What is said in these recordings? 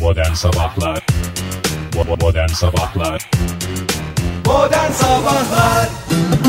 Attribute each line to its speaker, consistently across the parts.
Speaker 1: Modern Sabahlar Bo- Modern Sabahlar
Speaker 2: Modern Sabahlar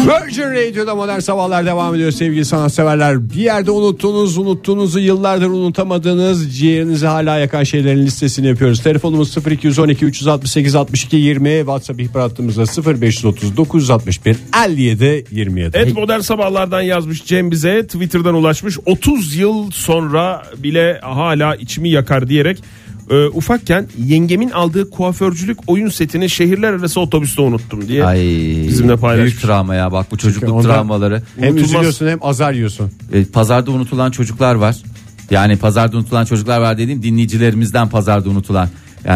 Speaker 3: Virgin Radio'da modern sabahlar devam ediyor sevgili sanatseverler. Bir yerde unuttuğunuz, unuttuğunuzu yıllardır unutamadığınız, ciğerinizi hala yakan şeylerin listesini yapıyoruz. Telefonumuz 0212 368 62 20, WhatsApp ihbar hattımızda 0530 961 57 27.
Speaker 4: Et modern sabahlardan yazmış Cem bize Twitter'dan ulaşmış 30 yıl sonra bile hala içimi yakar diyerek e, ufakken yengemin aldığı kuaförcülük oyun setini şehirler arası otobüste unuttum diye
Speaker 2: Ay
Speaker 4: bizimle
Speaker 2: büyük
Speaker 4: paylaşmış.
Speaker 2: travma ya bak bu çocukluk
Speaker 3: Çünkü ondan-
Speaker 2: travmaları.
Speaker 3: Hem
Speaker 4: unutulmaz.
Speaker 3: üzülüyorsun hem azar yiyorsun.
Speaker 2: E, pazarda unutulan çocuklar var. Yani pazarda unutulan çocuklar var dediğim dinleyicilerimizden pazarda unutulan. e,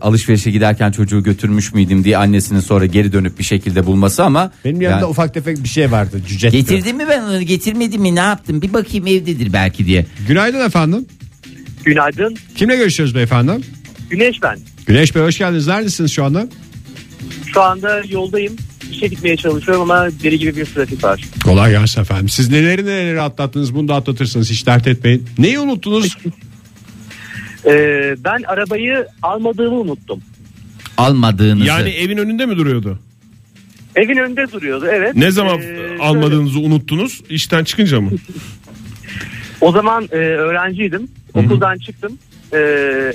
Speaker 2: alışverişe giderken çocuğu götürmüş müydüm diye annesinin sonra geri dönüp bir şekilde bulması ama
Speaker 3: Benim
Speaker 2: yani-
Speaker 3: yanımda ufak tefek bir şey vardı cüce.
Speaker 2: Getirdim mi ben onu getirmedim mi ne yaptım bir bakayım evdedir belki diye.
Speaker 3: Günaydın efendim.
Speaker 5: Günaydın.
Speaker 3: Kimle görüşüyoruz beyefendi?
Speaker 5: Güneş ben.
Speaker 3: Güneş Bey hoş geldiniz. Neredesiniz şu anda?
Speaker 5: Şu anda yoldayım. İşe gitmeye çalışıyorum ama deli gibi bir trafik var.
Speaker 3: Kolay gelsin efendim. Siz neleri neleri atlattınız bunu da atlatırsınız hiç dert etmeyin. Neyi unuttunuz?
Speaker 5: Ee, ben arabayı almadığımı unuttum.
Speaker 2: Almadığınızı.
Speaker 4: Yani evin önünde mi duruyordu?
Speaker 5: Evin önünde duruyordu evet.
Speaker 4: Ne zaman
Speaker 5: Ee, şöyle,
Speaker 4: almadığınızı unuttunuz? İşten çıkınca mı?
Speaker 5: o zaman e, öğrenciydim. Okuldan çıktım. Ee,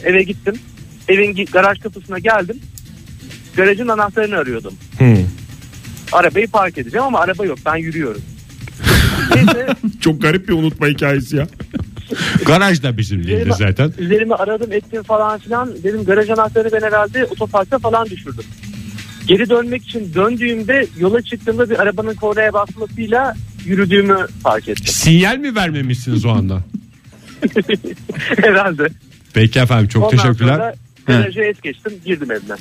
Speaker 5: eve gittim. Evin gi- garaj kapısına geldim. Garajın anahtarını arıyordum. Arabayı park edeceğim ama araba yok. Ben yürüyorum. Neyse
Speaker 4: Çok garip bir unutma hikayesi ya.
Speaker 3: Garaj da bizim değildi
Speaker 5: Üzerime-
Speaker 3: zaten.
Speaker 5: üzerimi aradım ettim falan filan. Dedim garaj anahtarını ben herhalde otoparkta falan düşürdüm. Geri dönmek için döndüğümde yola çıktığımda bir arabanın kornaya basmasıyla yürüdüğümü fark ettim.
Speaker 3: Sinyal mi vermemişsiniz o anda?
Speaker 5: herhalde.
Speaker 3: Peki efendim çok
Speaker 5: Ondan
Speaker 3: teşekkürler.
Speaker 5: sonra garajı es geçtim girdim evden.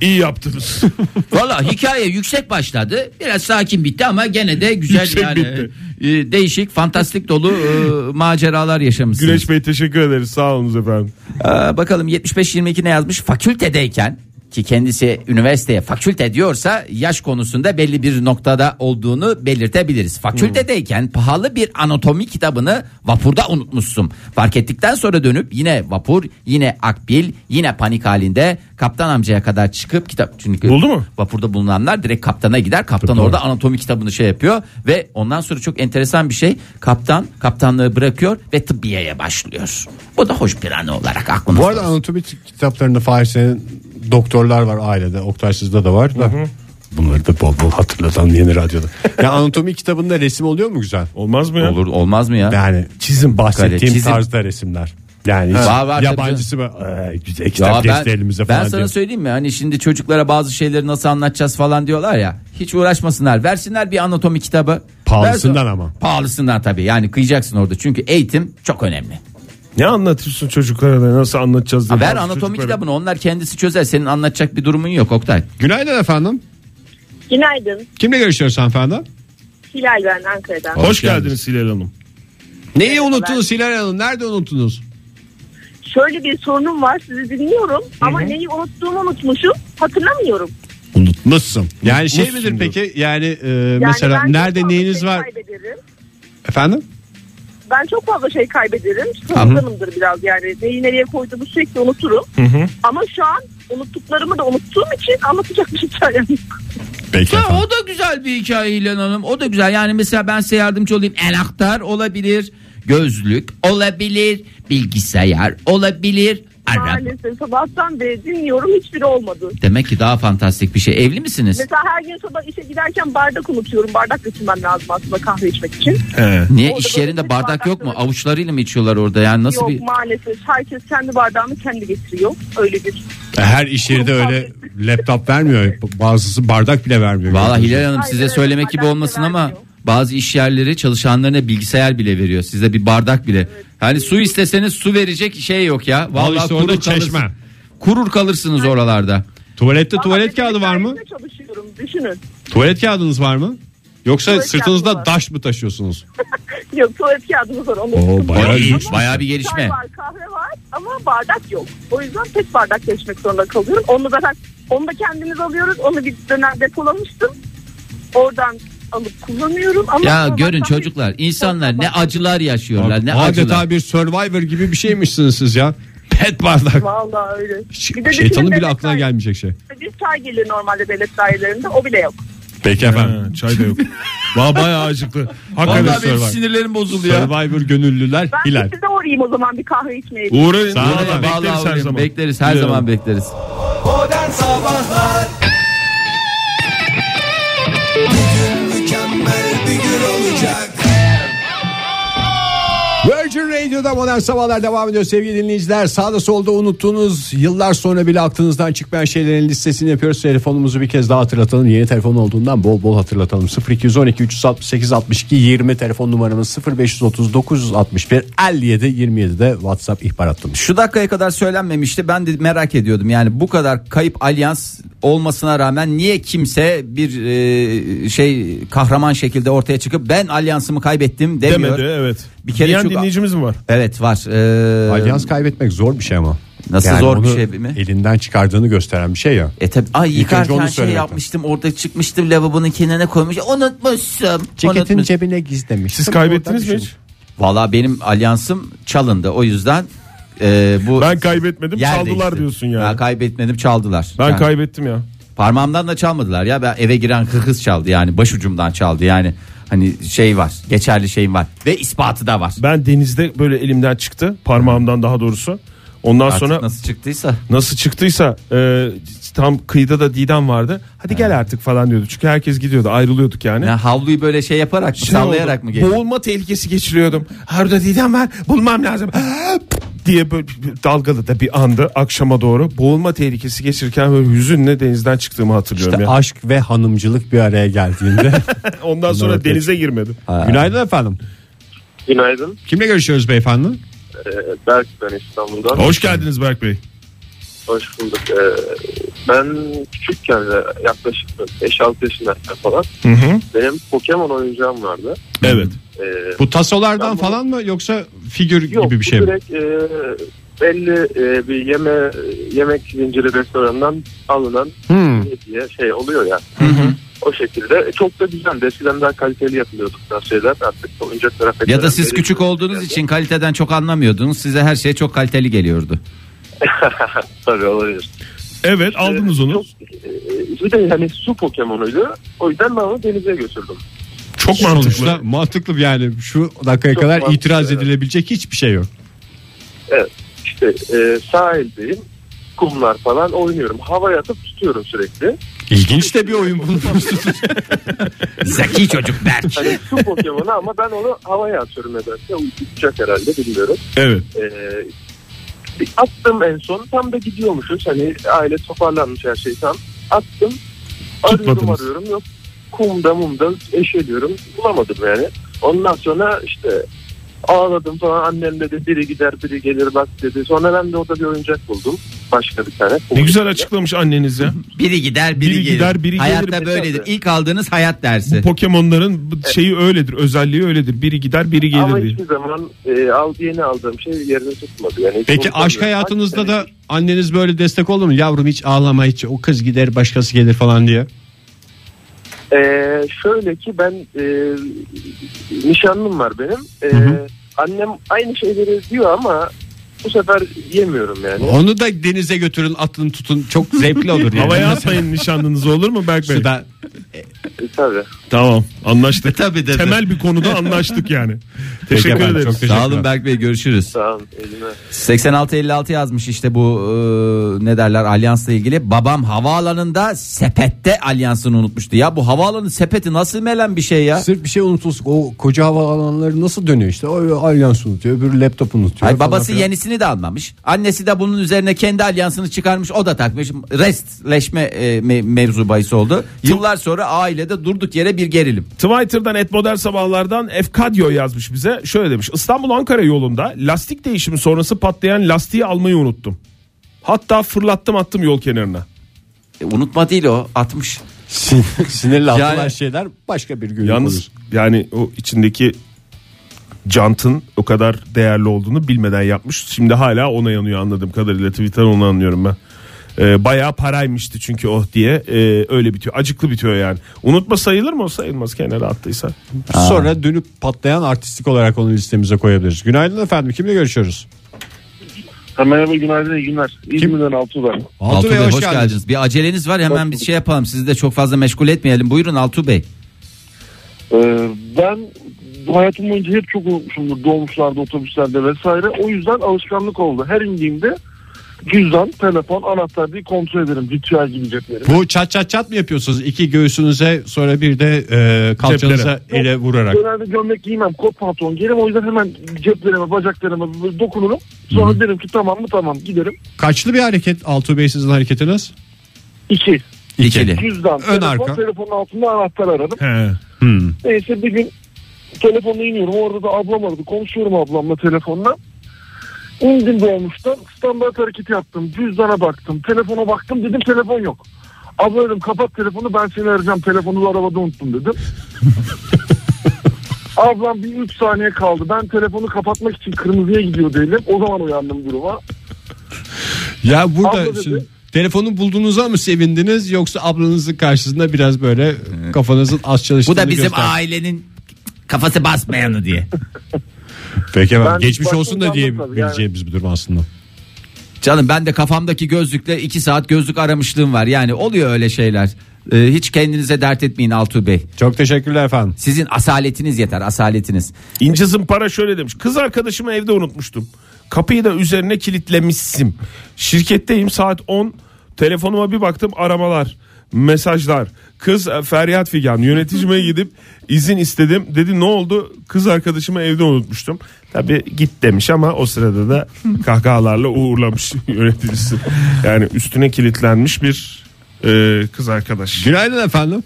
Speaker 4: İyi yaptınız.
Speaker 2: Valla hikaye yüksek başladı. Biraz sakin bitti ama gene de güzel
Speaker 4: Yüksek
Speaker 2: yani.
Speaker 4: bitti.
Speaker 2: e, değişik, fantastik dolu e, maceralar yaşamışsınız.
Speaker 4: Güneş Bey teşekkür ederiz. Sağ olun efendim.
Speaker 2: Aa, Ee, bakalım 75-22 ne yazmış? Fakültedeyken ki kendisi üniversiteye fakülte diyorsa yaş konusunda belli bir noktada olduğunu belirtebiliriz. Fakültedeyken pahalı bir anatomi kitabını vapurda unutmuşsun. Fark ettikten sonra dönüp yine vapur, yine akbil, yine panik halinde kaptan amcaya kadar çıkıp kitap çünkü
Speaker 4: Buldu mu?
Speaker 2: vapurda bulunanlar direkt kaptana gider. Kaptan orada anatomi kitabını şey yapıyor ve ondan sonra çok enteresan bir şey. Kaptan kaptanlığı bırakıyor ve tıbbiyeye başlıyor. Bu da hoş bir anı olarak aklımızda.
Speaker 3: Bu arada anatomi kitaplarında Fahir senin doktorlar var ailede. Oktay sizde de var da. Bunları da bol bol hatırlatan yeni radyoda. ya anatomi kitabında resim oluyor mu güzel?
Speaker 4: Olmaz mı ya?
Speaker 2: Olur olmaz mı ya?
Speaker 3: Yani çizim bahsettiğim
Speaker 2: Kale, çizim.
Speaker 3: tarzda resimler. Yani hiç
Speaker 2: Var, var, tabii
Speaker 3: yabancısı mı? Ee, güzel
Speaker 2: Ya
Speaker 3: kitap
Speaker 2: ben,
Speaker 3: geçti elimize
Speaker 2: ben
Speaker 3: falan.
Speaker 2: sana
Speaker 3: diyor.
Speaker 2: söyleyeyim mi? Hani şimdi çocuklara bazı şeyleri nasıl anlatacağız falan diyorlar ya. Hiç uğraşmasınlar. Versinler bir anatomi kitabı.
Speaker 3: Pahalısından ama.
Speaker 2: Pahalısından tabii. Yani kıyacaksın orada. Çünkü eğitim çok önemli.
Speaker 4: Ne anlatıyorsun çocuklara da nasıl anlatacağız diye.
Speaker 2: Ha, ver
Speaker 4: Bazı
Speaker 2: anatomi
Speaker 4: çocuklara-
Speaker 2: kitabını. Onlar kendisi çözer. Senin anlatacak bir durumun yok Oktay.
Speaker 3: Günaydın efendim.
Speaker 6: Günaydın.
Speaker 3: Kimle görüşüyoruz hanımefendi?
Speaker 6: Hilal ben Ankara'dan.
Speaker 4: Hoş geldiniz Hilal Hanım.
Speaker 3: Neyi unuttunuz Hilal Hanım? Nerede unuttunuz?
Speaker 6: Şöyle bir sorunum var sizi dinliyorum ama neyi unuttuğumu unutmuşum hatırlamıyorum.
Speaker 3: Unutmuşsun. Yani şey
Speaker 4: Unutmuşsun
Speaker 3: midir
Speaker 4: diyor.
Speaker 3: peki? Yani, e,
Speaker 6: Yani
Speaker 3: mesela
Speaker 6: ben çok
Speaker 3: nerede
Speaker 6: fazla
Speaker 3: neyiniz
Speaker 6: şey
Speaker 3: var?
Speaker 6: kaybederim.
Speaker 3: Efendim?
Speaker 6: Ben çok fazla şey kaybederim. Hızlanımdır biraz yani. Neyi nereye koyduğumu sürekli unuturum. Ama şu an unuttuklarımı da unuttuğum için anlatacak bir hikayem yok.
Speaker 3: Peki
Speaker 2: Ya
Speaker 3: efendim.
Speaker 2: o da güzel bir hikaye İlhan Hanım. O da güzel. Yani mesela ben size yardımcı olayım. Anahtar olabilir. Gözlük olabilir. Bilgisayar olabilir. Araba.
Speaker 6: Maalesef sabahtan beri dinliyorum hiçbiri olmadı.
Speaker 2: Demek ki daha fantastik bir şey. Evli misiniz?
Speaker 6: Mesela her gün sabah işe giderken bardak unutuyorum. Bardak götürmem lazım aslında kahve içmek için.
Speaker 2: Niye
Speaker 6: Orada
Speaker 2: iş
Speaker 6: böyle
Speaker 2: yerinde
Speaker 6: bir
Speaker 2: bardak
Speaker 6: bardak
Speaker 2: yok mu?
Speaker 6: böyle-
Speaker 2: Avuçlarıyla mı içiyorlar orada? Yani nasıl
Speaker 6: Yok
Speaker 2: bir
Speaker 6: maalesef herkes kendi bardağını kendi getiriyor. Öyle bir
Speaker 3: E, Her iş yeri de öyle laptop vermiyor. Bazısı bardak bile vermiyor.
Speaker 2: Vallahi Hilal Hanım
Speaker 6: Hayır,
Speaker 2: size
Speaker 6: evet,
Speaker 2: söylemek gibi
Speaker 6: bardak
Speaker 2: olmasın
Speaker 6: da
Speaker 2: ama
Speaker 6: vermiyor.
Speaker 2: bazı iş yerleri çalışanlarına bilgisayar bile veriyor. Size bir bardak bile. Hani su isteseniz su verecek şey yok ya. Vallahi
Speaker 3: işte orada
Speaker 2: kurur
Speaker 3: çeşme.
Speaker 2: kalırsınız. Kurur kalırsınız oralarda.
Speaker 3: Tuvalette
Speaker 6: Vallahi
Speaker 3: tuvalet
Speaker 6: ben
Speaker 3: kağıdı var mı?
Speaker 6: sayesinde Çalışıyorum düşünün.
Speaker 3: Tuvalet kağıdınız var mı? Yoksa
Speaker 6: Tuvalet kağıdı
Speaker 3: sırtınızda
Speaker 6: var.
Speaker 3: daş mı taşıyorsunuz?
Speaker 6: Yok tuvalet kağıdımız var. Onda
Speaker 3: Oo,
Speaker 6: sıkıntı
Speaker 3: bayağı
Speaker 6: yok.
Speaker 3: iyiymiş.
Speaker 6: Ama
Speaker 2: Bayağı bir gelişme.
Speaker 6: Çay var kahve var ama bardak yok. O yüzden tek bardak geçmek zorunda kalıyorum. Onu zaten onu da kendimiz alıyoruz. Onu bir dönem depolamıştım. Oradan alıp kullanıyorum. Ama
Speaker 2: Ya
Speaker 6: sonra
Speaker 2: görün
Speaker 6: baksam-
Speaker 2: çocuklar insanlar ne acılar yaşıyorlar ne
Speaker 3: Adeta
Speaker 2: acılar.
Speaker 3: bir survivor gibi bir şeymişsiniz siz ya. Pet bardak.
Speaker 6: Vallahi öyle.
Speaker 3: Ş-
Speaker 6: Bir de
Speaker 3: Şeytanın
Speaker 6: düşünün
Speaker 3: bile aklına
Speaker 6: devlet
Speaker 3: gelmeyecek şey.
Speaker 6: daire- Bir çay gelir normalde devlet dairelerinde o bile yok.
Speaker 3: Peki efendim.
Speaker 4: Ha, çay da yok. Valla bayağı acıklı. Hakikaten
Speaker 3: Vallahi
Speaker 2: Vallahi benim
Speaker 4: Survivor.
Speaker 2: sinirlerim bozuldu ya.
Speaker 3: Survivor gönüllüler
Speaker 6: Ben
Speaker 3: Hilal.
Speaker 6: size uğrayayım o zaman bir kahve içmeye.
Speaker 4: Uğrayın.
Speaker 3: Sağ olun.
Speaker 4: Vallahi
Speaker 2: Vallahi
Speaker 4: bekleriz her
Speaker 2: uğrayın,
Speaker 4: zaman.
Speaker 2: Bekleriz her
Speaker 4: Biliyorum.
Speaker 2: zaman bekleriz.
Speaker 7: Modern Sabahlar Mükemmel bir gün olacak
Speaker 3: Virgin Radio'da modern sabahlar devam ediyor sevgili dinleyiciler. Sağda solda unuttuğunuz yıllar sonra bile aklınızdan çıkmayan şeylerin listesini yapıyoruz. Telefonumuzu bir kez daha hatırlatalım. Yeni telefon olduğundan bol bol hatırlatalım. 0212 368 62 20 telefon numaramız 0530 961 57 27'de WhatsApp ihbar hattımız.
Speaker 2: Şu dakikaya kadar söylenmemişti. Ben de merak ediyordum. Yani bu kadar kayıp alyans olmasına rağmen niye kimse bir e, şey kahraman şekilde ortaya çıkıp ben alyansımı kaybettim demiyor.
Speaker 4: Demedi evet.
Speaker 2: Bir kere
Speaker 4: Diyen
Speaker 2: çok-
Speaker 4: dinleyicimiz mi var?
Speaker 2: Evet var. Ee,
Speaker 3: Alyans kaybetmek zor bir şey ama.
Speaker 2: Nasıl zor bir
Speaker 3: onu
Speaker 2: şey mi?
Speaker 3: Elinden çıkardığını gösteren bir şey ya.
Speaker 2: E tabi ay
Speaker 3: İlk önce onu
Speaker 2: yıkarken şey
Speaker 3: söylemek lazım.
Speaker 2: yapmıştım orada çıkmıştım lavabonun kenarına koymuş unutmuşum.
Speaker 3: Ceketin
Speaker 2: unutmuş-
Speaker 3: cebine gizlemiş.
Speaker 4: Siz kaybettiniz mi hiç?
Speaker 2: Valla benim alyansım çalındı o yüzden e, bu
Speaker 4: Ben kaybetmedim
Speaker 2: yer
Speaker 4: çaldılar
Speaker 2: değişti.
Speaker 4: diyorsun yani.
Speaker 2: Ben kaybetmedim çaldılar.
Speaker 4: Ben
Speaker 2: Yani
Speaker 4: kaybettim ya.
Speaker 2: parmağımdan da çalmadılar ya ben eve giren kız çaldı yani başucumdan çaldı yani hani şey var geçerli şeyim var ve ispatı da var.
Speaker 4: Ben denizde böyle elimden çıktı. Parmağımdan daha doğrusu. Ondan
Speaker 2: Artık
Speaker 4: sonra
Speaker 2: nasıl çıktıysa
Speaker 4: nasıl çıktıysa e, tam kıyıda da Didem vardı. Hadi gel artık falan diyordu. Çünkü herkes gidiyordu. Ayrılıyorduk yani.
Speaker 2: ya havluyu böyle şey yaparak mı,
Speaker 4: Şey
Speaker 2: sallayarak
Speaker 4: oldu,
Speaker 2: mı geçti?
Speaker 4: Boğulma tehlikesi geçiriyordum. Harda Didem var. Bulmam lazım. diye böyle bir- dalgalı da bir anda akşama doğru boğulma tehlikesi geçirirken böyle hüzünle denizden çıktığımı hatırlıyorum
Speaker 3: İşte
Speaker 4: ya.
Speaker 3: aşk ve hanımcılık bir araya geldiğinde.
Speaker 4: Ondan sonra
Speaker 3: Evet.
Speaker 4: denize girmedim.
Speaker 3: Günaydın efendim.
Speaker 8: Günaydın.
Speaker 3: Kimle görüşüyoruz beyefendi?
Speaker 8: Ee, Berk ben İstanbul'dan.
Speaker 4: Hoş geldiniz Berk Bey.
Speaker 8: Hoş bulduk. Ee, ben küçükken de yaklaşık 5-6 yaşındayken falan benim Pokemon oyuncağım vardı.
Speaker 4: Evet.
Speaker 8: Ee,
Speaker 3: Bu tasolardan
Speaker 8: Ben bunu-
Speaker 3: falan mı yoksa figür
Speaker 8: yok,
Speaker 3: gibi bir
Speaker 8: bu
Speaker 3: şey mi?
Speaker 8: direkt e, belli e, bir yeme yemek zinciri restorandan alınan
Speaker 3: Hmm.
Speaker 8: hediye şey oluyor ya. O şekilde. E, Çok da güzel. Eskiden daha kaliteli yapılıyordu bu tarz şeyler. Artık oyuncaklara pek
Speaker 2: Ya da
Speaker 8: önem
Speaker 2: siz
Speaker 8: verilmiyor.
Speaker 2: küçük olduğunuz için kaliteden çok anlamıyordunuz. Size her şey çok kaliteli geliyordu.
Speaker 8: Tabii olabilir.
Speaker 4: Evet aldınız onu.
Speaker 8: Çok, e, bir de hani su Pokemon'uydu. O yüzden ben onu denize götürdüm.
Speaker 4: Çok
Speaker 3: Sonuçta mantıklı yani şu dakikaya
Speaker 8: Çok
Speaker 3: kadar
Speaker 8: mantıklı,
Speaker 3: itiraz
Speaker 8: evet.
Speaker 3: edilebilecek hiçbir şey yok.
Speaker 8: İşte e, sahildeyim. Kumlar falan oynuyorum. Havaya atıp tutuyorum sürekli.
Speaker 3: İlginç de bir oyun bulmuşsunuz.
Speaker 2: Zeki çocuk Berk.
Speaker 8: Hani su Pokemon'u ama ben onu havaya atıyorum nedense. Uçacak herhalde bilmiyorum.
Speaker 4: Evet.
Speaker 8: E, bir attım en son. Tam da gidiyormuşuz. Hani aile toparlanmış her şey tam. Attım. Arıyorum
Speaker 4: Tutmadınız.
Speaker 8: arıyorum. Yok kumda mumda eşeliyorum. Bulamadım yani. Ondan sonra işte ağladım falan. Annem dedi biri gider biri gelir bak dedi. Sonra ben de orada bir oyuncak buldum. Başka bir tane.
Speaker 4: Ne güzel açıklamış anneniz ya.
Speaker 2: Biri gider biri,
Speaker 4: Biri
Speaker 2: gelir.
Speaker 4: gider, biri
Speaker 2: Hayatta
Speaker 4: gelir.
Speaker 2: böyledir.
Speaker 8: Tabii.
Speaker 2: İlk aldığınız hayat dersi.
Speaker 4: Bu Pokemon'ların bu şeyi öyledir, özelliği öyledir. Biri gider, biri
Speaker 8: Ama
Speaker 4: gelir diye.
Speaker 8: hiçbir zaman e, al yeni aldığım şey yerini tutmadı. Yani hiç
Speaker 3: Peki
Speaker 8: unutamıyorum.
Speaker 3: aşk hayatınızda
Speaker 8: Kaç
Speaker 3: da anneniz böyle destek oldu mu? Yavrum hiç ağlama hiç o kız gider başkası gelir falan diye.
Speaker 8: sene- E, şöyle ki ben e, nişanlım var benim. E, Annem aynı şeyleri diyor ama bu sefer yemiyorum yani.
Speaker 3: Onu da denize götürün atın tutun çok zevkli olur. Yani.
Speaker 4: Havaya atmayın nişanlınızı olur mu Berk Bey?
Speaker 3: Suda
Speaker 8: E, tabii.
Speaker 4: Tamam
Speaker 3: E,
Speaker 4: anlaştık.
Speaker 2: Tabii dedi.
Speaker 4: Temel bir konuda anlaştık yani. Teşekkür
Speaker 3: efendim,
Speaker 4: ederiz.
Speaker 3: çok teşekkür-
Speaker 2: Sağ olun Berk Bey görüşürüz.
Speaker 8: Sağ olun. Elime.
Speaker 2: 86-56 yazmış işte bu e, ne derler alyansla ilgili. Babam havaalanında sepette alyansını unutmuştu. Ya bu havaalanı sepeti nasıl melen bir şey ya?
Speaker 3: Sırf bir şey unutulsun. O koca havaalanları nasıl dönüyor işte? O alyans unutuyor, öbürü laptop unutuyor.
Speaker 2: Ay
Speaker 3: falan
Speaker 2: babası
Speaker 3: filan.
Speaker 2: yenisini de almamış. Annesi de bunun üzerine kendi alyansını çıkarmış. O da takmış. Restleşme e, me- mevzu bahis oldu. Yıllar sonra ailede durduk yere bir gerilim.
Speaker 4: Twitter'dan et modern sabahlardan Efkadyo yazmış bize. Şöyle demiş. İstanbul Ankara yolunda lastik değişimi sonrası patlayan lastiği almayı unuttum. Hatta fırlattım attım yol kenarına.
Speaker 2: E, unutma değil o atmış.
Speaker 3: Sin- sinirli atılan
Speaker 2: Yani-
Speaker 3: şeyler başka bir gün
Speaker 4: Yalnız yani o içindeki cantın o kadar değerli olduğunu bilmeden yapmış. Şimdi hala ona yanıyor anladığım kadarıyla. Twitter'dan onu anlıyorum ben. Ee, bayağı paraymıştı çünkü oh diye Ee, öyle bitiyor. Acıklı bitiyor yani. Unutma sayılır mı o sayılmaz kenara attıysa.
Speaker 3: Sonra dönüp patlayan artistik olarak onu listemize koyabiliriz. Günaydın efendim. Kimle görüşüyoruz?
Speaker 9: Ha, merhaba günaydın iyi günler. İzmir'den Altuğ ben.
Speaker 3: Altu Bey hoş geldiniz.
Speaker 2: Bir aceleniz var hemen bir şey yapalım. Sizi de çok fazla meşgul etmeyelim. Buyurun Altu Bey.
Speaker 9: Ee, ben hayatım boyunca hep çok unutmuşumdur dolmuşlarda, otobüslerde vesaire. O yüzden alışkanlık oldu. Her indiğimde cüzdan, telefon, anahtar diye kontrol ederim. Ritüel gibi ceplerim.
Speaker 3: Bu çat çat çat mı yapıyorsunuz? İki göğsünüze sonra bir de e, kalçanıza ele vurarak.
Speaker 9: Genelde gömlek giymem, kot pantolon giyerim. O yüzden hemen ceplerime, bacaklarıma böyle dokunurum. Sonra derim ki tamam mı tamam giderim.
Speaker 3: Kaçlı bir hareket Altuğ Bey sizin hareketiniz?
Speaker 9: İki.
Speaker 2: İkili.
Speaker 9: Cüzdan,
Speaker 3: Ön
Speaker 9: telefon,
Speaker 3: arka.
Speaker 9: telefonun altında anahtar aradım.
Speaker 4: He.
Speaker 9: Neyse bir gün telefonla iniyorum. Orada da ablam aradı. Konuşuyorum ablamla telefonla. İndim dolmuştan. Standart hareket yaptım. Cüzdana baktım. Telefona baktım. Dedim telefon yok. Abla dedim kapat telefonu ben seni arayacağım. Telefonu da arabada unuttum dedim. Ablam bir 3 saniye kaldı. Ben telefonu kapatmak için kırmızıya gidiyor değilim. O zaman uyandım duruma.
Speaker 3: Ya
Speaker 9: Abla
Speaker 3: burada
Speaker 9: dedi.
Speaker 3: şimdi telefonu bulduğunuza mı sevindiniz yoksa ablanızın karşısında biraz böyle kafanızın az çalıştığını
Speaker 2: Bu da bizim
Speaker 3: göster-
Speaker 2: ailenin kafası basmayanı diye.
Speaker 3: Peki efendim,
Speaker 9: Ben
Speaker 3: geçmiş
Speaker 9: başta
Speaker 3: olsun da
Speaker 9: utandım
Speaker 3: diyebileceğimiz bir durum aslında.
Speaker 2: Canım ben de kafamdaki gözlükle 2 saat gözlük aramışlığım var. Yani oluyor öyle şeyler. Ee, hiç kendinize dert etmeyin Altuğ Bey.
Speaker 3: Çok teşekkürler efendim.
Speaker 2: Sizin asaletiniz yeter asaletiniz.
Speaker 4: İnce Zımpara şöyle demiş. Kız arkadaşımı evde unutmuştum. Kapıyı da üzerine kilitlemişsim. Şirketteyim saat 10. Telefonuma bir baktım aramalar. Mesajlar. Kız e, Feryat Figan yöneticime gidip izin istedim. Dedi ne oldu? Kız arkadaşımı evde unutmuştum. Tabi git demiş ama o sırada da kahkahalarla uğurlamış yöneticisi. Yani üstüne kilitlenmiş bir e, kız arkadaş.
Speaker 3: Günaydın efendim.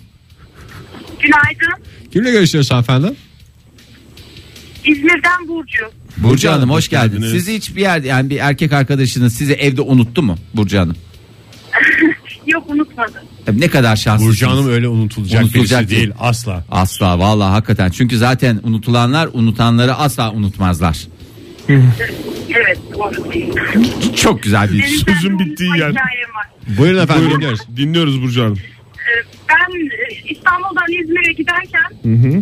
Speaker 10: Günaydın.
Speaker 3: Kimle görüşüyoruz efendim?
Speaker 10: İzmir'den Burcu.
Speaker 2: Burcu, Hanım hoş geldiniz.
Speaker 4: geldiniz.
Speaker 2: Sizi hiçbir yerde yani bir erkek arkadaşınız sizi evde unuttu mu Burcu Hanım?
Speaker 10: Yok unutmadım.
Speaker 2: E, Ne kadar şanslısınız.
Speaker 3: Burcu Hanım öyle unutulacak,
Speaker 2: Unutulacak
Speaker 3: birisi
Speaker 2: değil.
Speaker 3: değil asla.
Speaker 2: Asla vallahi hakikaten. Çünkü zaten unutulanlar unutanları asla unutmazlar.
Speaker 10: Evet doğru.
Speaker 2: Çok güzel bir iş.
Speaker 4: Sözün bittiği yer.
Speaker 10: Hikayem var.
Speaker 3: Buyurun efendim
Speaker 4: Buyurun,
Speaker 3: dinliyoruz.
Speaker 4: dinliyoruz Burcu Hanım.
Speaker 10: Ee, Ben e, İstanbul'dan İzmir'e giderken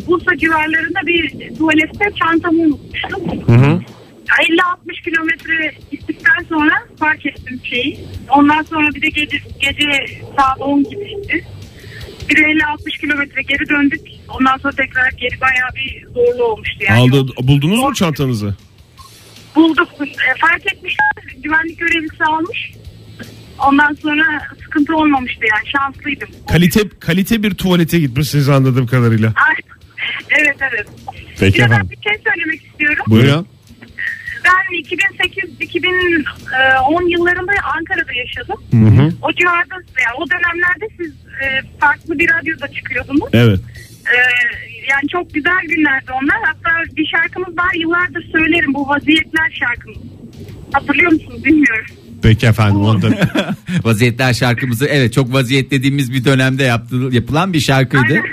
Speaker 10: Bursa civarlarında bir tuvalette çantamı unutmuştum. 50-60 kilometre gittikten sonra fark ettim şeyi. Ondan sonra bir de gece, gece saat 10 gibiydi. Bir de 50-60 kilometre geri döndük. Ondan sonra tekrar geri bayağı bir zorlu olmuştu. Yani.
Speaker 4: Aldı, buldunuz mu çantanızı?
Speaker 10: Bulduk. E, Fark etmişler. Güvenlik görevlisi almış. Ondan sonra sıkıntı olmamıştı yani şanslıydım.
Speaker 4: Kalite kalite bir tuvalete gitmişsiniz anladığım kadarıyla.
Speaker 10: Ay, evet evet.
Speaker 3: Peki
Speaker 10: Bir de ben
Speaker 3: efendim.
Speaker 10: bir şey söylemek istiyorum.
Speaker 3: Buyurun.
Speaker 10: Ben 2008-2010 yıllarında Ankara'da yaşadım. O civarda yani o dönemlerde siz e, farklı bir radyoda çıkıyordunuz.
Speaker 4: Evet.
Speaker 10: E, yani çok güzel günlerdi onlar. Hatta bir şarkımız var yıllardır söylerim bu vaziyetler şarkımız. Hatırlıyor musunuz bilmiyorum.
Speaker 3: Peki efendim onu da
Speaker 2: Vaziyetler şarkımızı evet çok vaziyet dediğimiz bir dönemde yaptı, yapılan bir şarkıydı.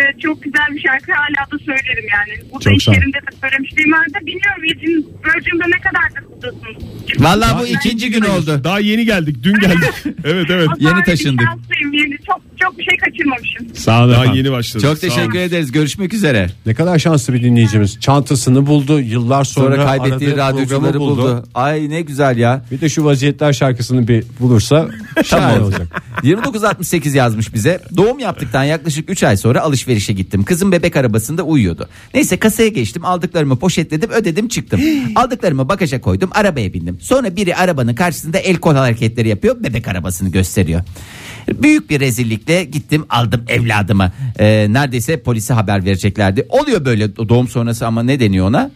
Speaker 10: Evet çok güzel bir şarkı hala da söylerim yani. Burada
Speaker 3: Çok
Speaker 10: iş
Speaker 3: sağ ol.
Speaker 10: yerinde de söylemişliğim var da bilmiyorum Virgin, Virgin'de ne kadar kutlusunuz.
Speaker 2: Vallahi bu ikinci gün oldu.
Speaker 4: Daha yeni geldik. Dün geldik. evet evet.
Speaker 10: Ama
Speaker 2: Yeni
Speaker 10: bari bir
Speaker 2: taşındık.
Speaker 10: şanslıyım, Yeni çok çok bir şey kaçırmamışım.
Speaker 3: sağ olun
Speaker 4: Daha
Speaker 3: efendim.
Speaker 4: yeni başladık.
Speaker 2: Çok
Speaker 4: Sağ
Speaker 2: teşekkür
Speaker 4: olun.
Speaker 2: ederiz. Görüşmek üzere.
Speaker 3: Ne kadar şanslı bir dinleyicimiz. Çantasını buldu yıllar sonra,
Speaker 2: Sonra, kaybettiği
Speaker 3: aradığı
Speaker 2: radyocuları
Speaker 3: programı
Speaker 2: buldu. Ay ne güzel ya.
Speaker 3: Bir de şu vaziyetler şarkısını bir bulursa şahane olacak.
Speaker 2: 2968 yazmış bize. Doğum yaptıktan yaklaşık 3 ay sonra alışverişe gittim. Kızım bebek arabasında uyuyordu. Neyse kasaya geçtim. Aldıklarımı poşetledim, ödedim, çıktım. Aldıklarımı bagaja koydum, arabaya bindim. Sonra biri arabanın karşısında el kol hareketleri yapıyor, bebek arabasını gösteriyor. Büyük bir rezillikle gittim aldım evladımı. Ee, neredeyse polise haber vereceklerdi. Oluyor böyle doğum sonrası ama ne deniyor ona?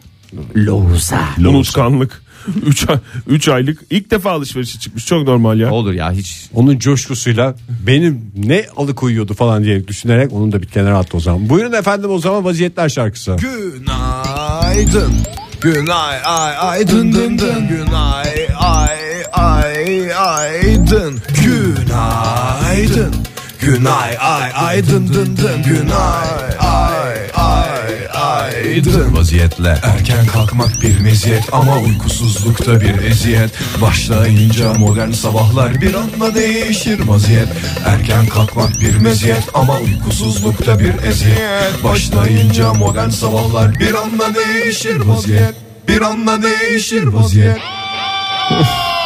Speaker 2: Lohusa.
Speaker 4: Unutkanlık. 3 ay, üç aylık ilk defa alışverişe çıkmış. Çok normal ya.
Speaker 2: Olur ya hiç
Speaker 3: Onun coşkusuyla benim ne alıkoyuyordu falan diye düşünerek onu da bir kenara attı o zaman. Buyurun efendim o zaman vaziyetler şarkısı.
Speaker 7: Günaydın. Günay ay ay dın dın dın. Günay ay ay ay dın. Günaydın. Günay ay ay dın dın dın. Günay ay ay ay dın. Vaziyetler. Erken kalkmak bir meziyet ama uykusuzluk da bir eziyet. Başlayınca modern sabahlar bir anda değişir vaziyet. Erken kalkmak bir meziyet ama uykusuzluk da bir eziyet. Başlayınca modern sabahlar bir anda değişir vaziyet. Bir anda değişir vaziyet.